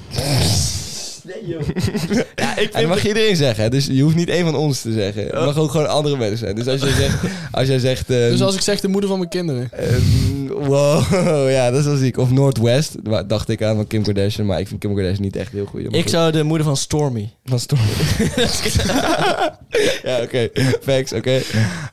Nee, joh. ja, ik
En dat
vind...
mag iedereen zeggen, hè? dus je hoeft niet één van ons te zeggen. Het mag ook gewoon andere mensen zijn. Dus als jij zegt... Als jij zegt ehm,
Dus als ik zeg de moeder van mijn kinderen.
ehm, wow, ja, dat is wel ziek. Of Northwest, waar- dacht ik aan van Kim Kardashian. Maar ik vind Kim Kardashian niet echt heel goed. maar
Ik
goed.
zou de moeder van Stormy.
Van Storm. ja, oké. Facts, oké.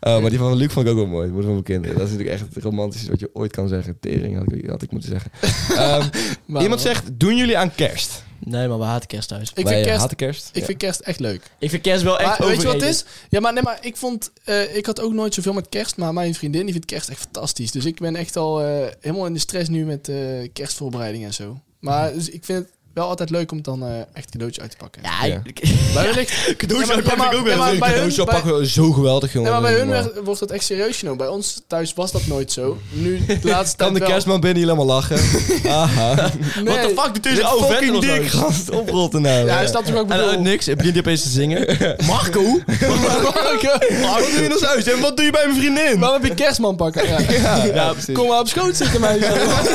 Eh, maar die van Luc vond ik ook wel mooi. Moeder van mijn kinderen. Dat is natuurlijk echt het romantischste wat je ooit kan zeggen. Tering had ik, had ik moeten zeggen. Ehm,
Maar-
iemand zegt, doen jullie aan kerst?
Nee, maar we haten kerst thuis.
Ik
Wij,
vind
eh,
kerst...
haten kerst.
Ik
Ja.
vind kerst echt leuk.
Ik vind kerst wel echt
Maar weet je wat het
overrated.
is? Ja, maar, nee, maar ik vond... eh, ik had ook nooit zoveel met kerst, maar mijn vriendin die vindt kerst echt fantastisch. Dus ik ben echt al eh, helemaal in de stress nu met eh kerstvoorbereiding en zo. Maar dus ik vind het wel altijd leuk om dan eh, echt cadeautjes uit te pakken.
Ja,
Ja.
ik-
Bij hun ligt-
Cadeautjes
Ja,
uitpakken
maar- ja,
vind ik ook
maar-
wel
ja, maar bij hun-
Zo
bij-
pakken, zo geweldig, jongen.
Nee, maar bij hun
Normaal.
werd- wordt dat echt serieus genomen. Bij ons thuis was dat nooit zo. Nu, de laatste
Kan
tijd
de
wel.
kerstman binnen hier helemaal lachen? Aha.
Nee.
What the fuck? Dit is
Dit
een oude vent
fucking
of zo.
dik, gast. Oprotten nou.
Ja, hij snapt toch ook
En eh, uit
bedoel?
niks en begint hij opeens te zingen. Marco?
Wat doe je in ons huis? En wat doe je bij mijn vriendin?
Waarom heb je kerstman pakken? Ja.
Ja, ja,
precies.
Kom maar op schoot zitten, meisje.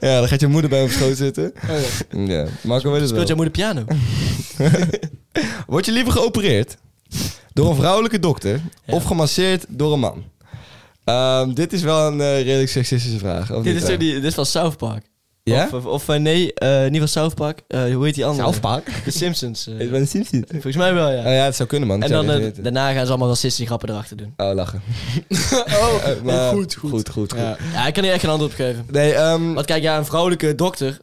ja, dan gaat je moeder bij hem op schoot zitten.
Oh, ja.
Ja, Marco weet het wel.
Speelt jouw moeder piano?
Word je liever geopereerd door een vrouwelijke dokter
Ja.
of gemasseerd door een man? Ehm, dit is wel een eh, redelijk seksistische vraag. Of
dit,
niet
is
wel?
toch die, dit is van South Park.
Ja?
Of, of, of, eh, nee, eh, niet van South Park. Eh, hoe heet die andere?
zelfpaak.
De Simpsons. eh.
Ik ben een Simpson.
volgens mij wel, ja.
Oh ja, het zou kunnen, man.
en
Ik zou
dan eh,
dit weten.
daarna gaan ze allemaal racistische grappen erachter doen.
Oh, lachen.
Oh,
Eh, maar-
goed, goed.
Goed, goed, goed.
Ja.
Ja, ik kan hier echt geen antwoord op geven.
Nee, ehm
Want kijk, ja, een vrouwelijke dokter,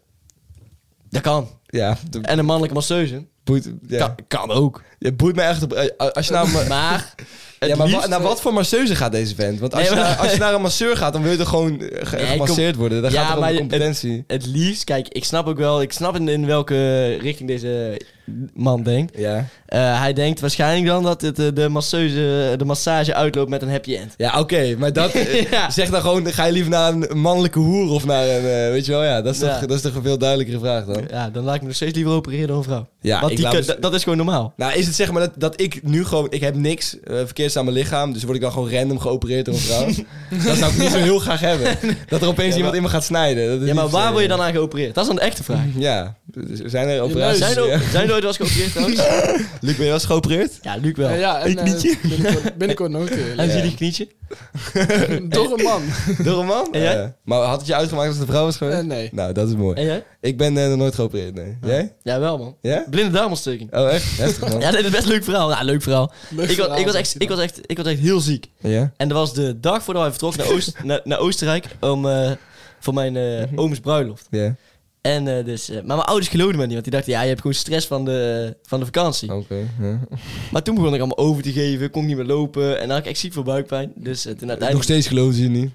dat kan.
ja, de-
En een mannelijke masseuse,
Boeit, ja.
Kan, kan ook.
Het boeit me echt. op- eh, Als je naar, me-
Maar, het
ja, maar wa-
liefst-
naar wat voor masseuse gaat deze vent? Want als,
Nee,
je,
maar-
naar, als je naar een masseur gaat, dan wil je er gewoon eh, ge-
Nee,
gemasseerd worden. Daar
Ja,
gaat het om
maar
de
je-
competentie.
het liefst, kijk, ik snap ook wel, ik snap in, in welke richting deze man denkt.
Ja,
Eh, hij denkt waarschijnlijk dan dat het, eh, de, masseuse, de massage uitloopt met een happy end. Dus-
ja oké. maar dat... eh,
Ja.
Zeg dan gewoon, ga je liever naar een mannelijke hoer of naar een... eh, weet je wel, ja. Dat is, toch,
Ja.
dat is toch een veel duidelijkere vraag dan.
Ja, dan laat ik me nog steeds liever opereren dan een vrouw.
Ja,
Want
ik
die
laat
kun-
me-
da- dat is gewoon normaal.
Nou, is het zeg maar dat, dat ik nu gewoon... Ik heb niks eh, verkeerds aan mijn lichaam. Dus word ik dan gewoon random geopereerd door een vrouw. dat zou ik niet zo heel graag hebben. Dat er opeens iemand in me gaat snijden. Dat is
Ja, maar
niet,
waar
eh,
word je dan aan geopereerd? Dat is dan de echte vraag.
Ja. Zijn er
neus.
operaties?
Zijn er,
Ja.
zijn er ooit wel eens geopereerd trouwens?
Luc, ben je wel eens geopereerd?
Ja, Luc wel.
Ja, ja, en
Ik
eh,
niet.
binnenkort, binnenkort nog een keer.
Hij
Ja.
ziet die knietje.
Door een man.
Door een man?
En jij?
Eh, maar had het je uitgemaakt als het een vrouw was geweest?
Eh, nee.
Nou, dat is mooi.
En jij?
Ik ben eh, nog nooit geopereerd, nee. Jij?
Ja, wel man.
Ja?
Blinde darmontsteking.
Oh, echt? Heftig, man.
Ja, dit is best een leuk verhaal. Ja, leuk verhaal.
Leuk
ik, was,
verhaal,
ik, was
denk
echt,
je
ik,
dan.
was echt, ik was echt heel ziek.
Ja?
En dat was de dag voordat wij vertrokken naar, Oost, naar, naar Oostenrijk om, eh, voor mijn
Mhm.
eh ooms bruiloft.
Ja.
En, eh, dus, eh, maar mijn ouders geloofden me niet, want die dachten, ja, je hebt gewoon stress van de, van de vakantie.
Oké. ja.
Maar toen begon ik allemaal over te geven, kon ik niet meer lopen en dan had ik echt ziek veel buikpijn. Dus eh, toen
Nog
uiteindelijk...
steeds geloven ze je niet.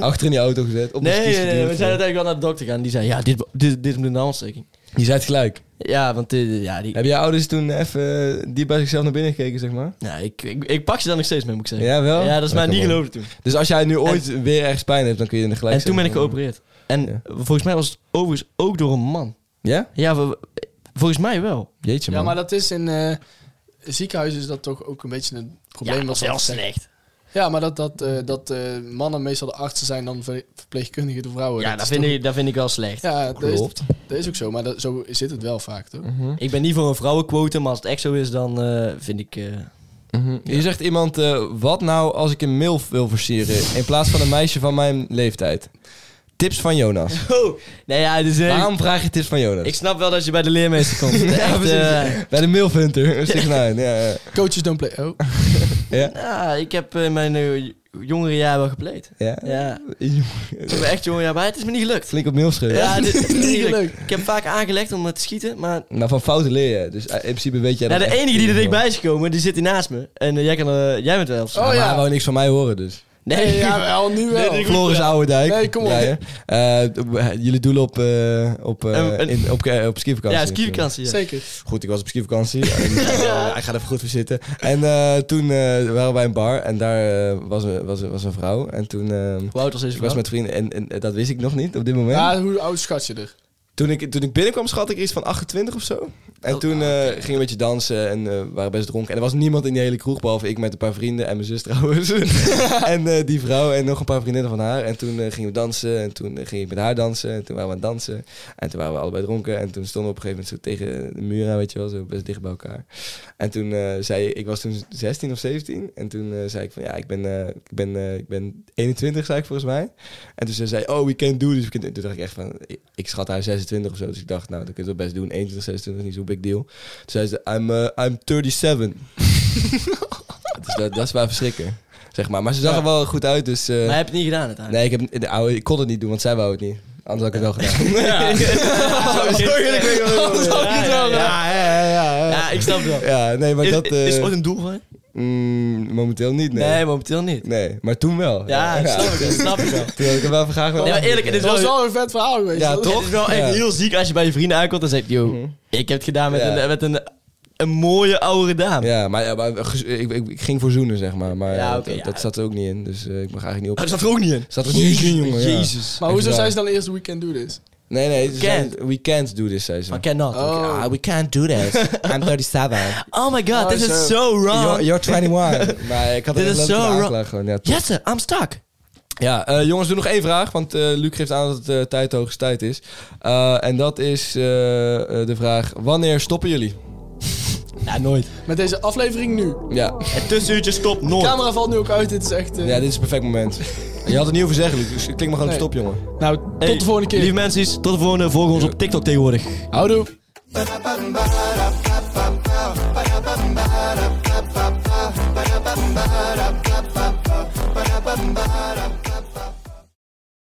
Achter in die auto gezet. Op de
Nee,
skis
nee, nee, we
geduwd. eh.
zijn uiteindelijk wel naar de dokter gegaan. Die zei, ja, dit, dit, dit is een darmontsteking.
Je zei het gelijk.
Ja, want eh, ja, die,
Hebben jouw ouders toen even eh, diep bij zichzelf naar binnen gekeken, zeg maar?
nou, ik, ik, ik pak ze daar nog steeds mee, moet ik zeggen.
Ja, wel?
Ja, dat is mij
Oké,
niet
man.
geloofde toen.
Dus als jij nu ooit weer ergens pijn hebt, dan kun je in de gelijk
En toen ben ik
zeggen.
geopereerd. En
Ja.
volgens mij was het overigens ook door een man.
Ja?
Ja, we- volgens mij wel.
Jeetje, man.
Ja, maar dat is in eh ziekenhuizen is dat toch ook een beetje een probleem.
ja,
wat
was
ze
wel
altijd zeggen.
slecht.
Ja, maar dat, dat, eh, dat eh, mannen meestal de artsen zijn dan ver- verpleegkundigen de vrouwen.
Ja, dat
Oh, is
vind,
toch-
ik, dat vind ik wel slecht.
Ja, dat is,
Klopt.
dat is ook zo, maar dat, zo zit het wel vaak, toch?
Mhm.
Ik ben niet voor een vrouwenquote, maar als het echt zo is, dan eh, vind ik... eh,
Mhm. Je zegt iemand, eh, wat nou als ik een milf wil versieren in plaats van een meisje van mijn leeftijd? Tips van Jonas.
Oh, nee, ja, dus, eh,
Waarom vraag je tips van Jonas?
Ik snap wel dat je bij de leermeester komt.
Ja,
Echt,
precies.
eh,
Bij de milfhunter. Stik nou in, ja, ja.
Coaches don't play. Oh,
ja.
ja, ik heb in mijn eh, jongere jaar wel gepleed.
ja.
Ja, ik heb echt jongere jaar, maar het is me niet gelukt.
Flink op milf schudden.
Ja, Ah, dit is
Niet gelukt.
Ik heb vaak aangelegd om te schieten, maar...
Nou, van fouten leer je. Dus eh, in principe weet jij
Ja,
dat.
de enige die er dichtbij is gekomen, die zit hier naast me. En eh, jij, kan, eh, jij bent wel.
Oh,
Oh, ja.
ja.
Maar wou niks van mij horen dus.
Nee,
hey, ja, wel, nu wel.
Nee,
Floris Ouwendijk.
Nee, kom op.
Ja, ja. Eh, d- jullie doelen op, eh, op, eh,
Een- een-
in, op, eh, op skivakantie.
Ja, skierkansen. Ja.
Zeker.
Goed, ik was op skivakantie. en, eh, ik ga er even goed voor zitten. En eh, toen eh, waren we bij een bar en daar eh, was, een, was, een- was een vrouw. En toen... eh,
Hoe oud was deze
ik was
vrouw?
met vrienden en, en eh, dat wist ik nog niet op dit moment.
Ja, hoe oud schat je er?
Toen ik, toen ik binnenkwam, schat ik er iets van 28 of zo. En
Oh,
toen eh gingen we een beetje dansen en eh, waren best dronken. En er was niemand in die hele kroeg, behalve ik met een paar vrienden en mijn zus trouwens. en eh, die vrouw en nog een paar vriendinnen van haar. En toen eh, gingen we dansen en toen eh, ging ik met haar dansen. En toen waren we aan het dansen. En toen waren we allebei dronken. En toen stonden we op een gegeven moment zo tegen de muur aan, weet je wel, zo best dicht bij elkaar. En toen eh, zei ik, ik was toen 16 of 17. En toen eh, zei ik van, ja, ik ben, eh, ik, ben, eh, ik ben 21, zei ik volgens mij. En toen ze zei oh, we can do this. We can do- Toen dacht ik echt van, ik- ik schat haar 26 of zo. Dus ik dacht, nou, dat kun je het wel best doen. 21, 26, niet zo'n big deal. Toen zei ze, I'm, eh, I'm 37. dus dat, dat is waar verschrikken, zeg maar. Maar ze zag er wel goed uit, dus... eh,
Maar heb je het niet gedaan uiteindelijk?
nee, ik, heb, de oude, ik kon het niet doen, want zij wou het niet. Anders had ik het wel gedaan.
Ja.
Zo- zo eerlijk ben ik wel.
Ja, ja, ja.
Ja, ja, ja, ja.
Ja, ik snap het wel.
Ja, nee, maar
Is,
dat... eh,
is er ooit een doel van je?
mm, momenteel niet, nee.
Nee,
nee.
momenteel niet.
maar toen wel.
Ja, dat snap ik, dat snap ik wel.
Toen had ik hem wel even graag wel
Nee, maar eerlijk, het is
Het was
wel,
wel een vet verhaal geweest.
Ja,
hoor.
toch?
het is wel echt
Ja. Mhm.
heel ziek als je bij je vrienden aankomt en zegt, yo, ik heb het gedaan met,
Ja.
een, met een, een mooie oude dame.
Ja, maar, ja, maar gez- ik, ik, ik ging voor zoenen, zeg maar. Maar
Ja,
eh,
oké,
dat,
ja. Oh,
dat zat er ook niet in. Dus eh, ik mag eigenlijk niet
Maar dat
op.
zat er ook niet in.
Zat er niet in, jongen. ja.
Jezus.
Maar hoezo
Even
zei ze dan eerst We Can Do This?
Nee, nee. ze zei,
Can't.
we can't do this, zei ze.
Maar cannot.
Oh.
Ah, we can't do that. I'm 37.
Oh my god, this
zo.
is so
You're,
wrong.
you're 21. maar ik had
Dit
het
is
leuk
zo
kunnen
ra-
aanklagen gewoon. Ja, top.
Jesse, I'm stuck.
Ja, eh, jongens, doe nog één vraag. Want eh, Luc geeft aan dat het eh, tijd de hoogste tijd is. Eh, en dat is eh, eh, de vraag: wanneer stoppen jullie?
Ja, nooit.
Met deze aflevering nu.
Ja.
Het tussenuurtje stopt nooit.
Camera valt nu ook uit, dit is echt... eh,
ja, dit is het perfect moment. Je had het niet over zeggen, Luc. Dus Klik maar gewoon
Nee.
stop, jongen.
Nou,
Hey,
tot de volgende keer.
Lieve mensen, tot de volgende. Volg ons op TikTok tegenwoordig.
Houdoe.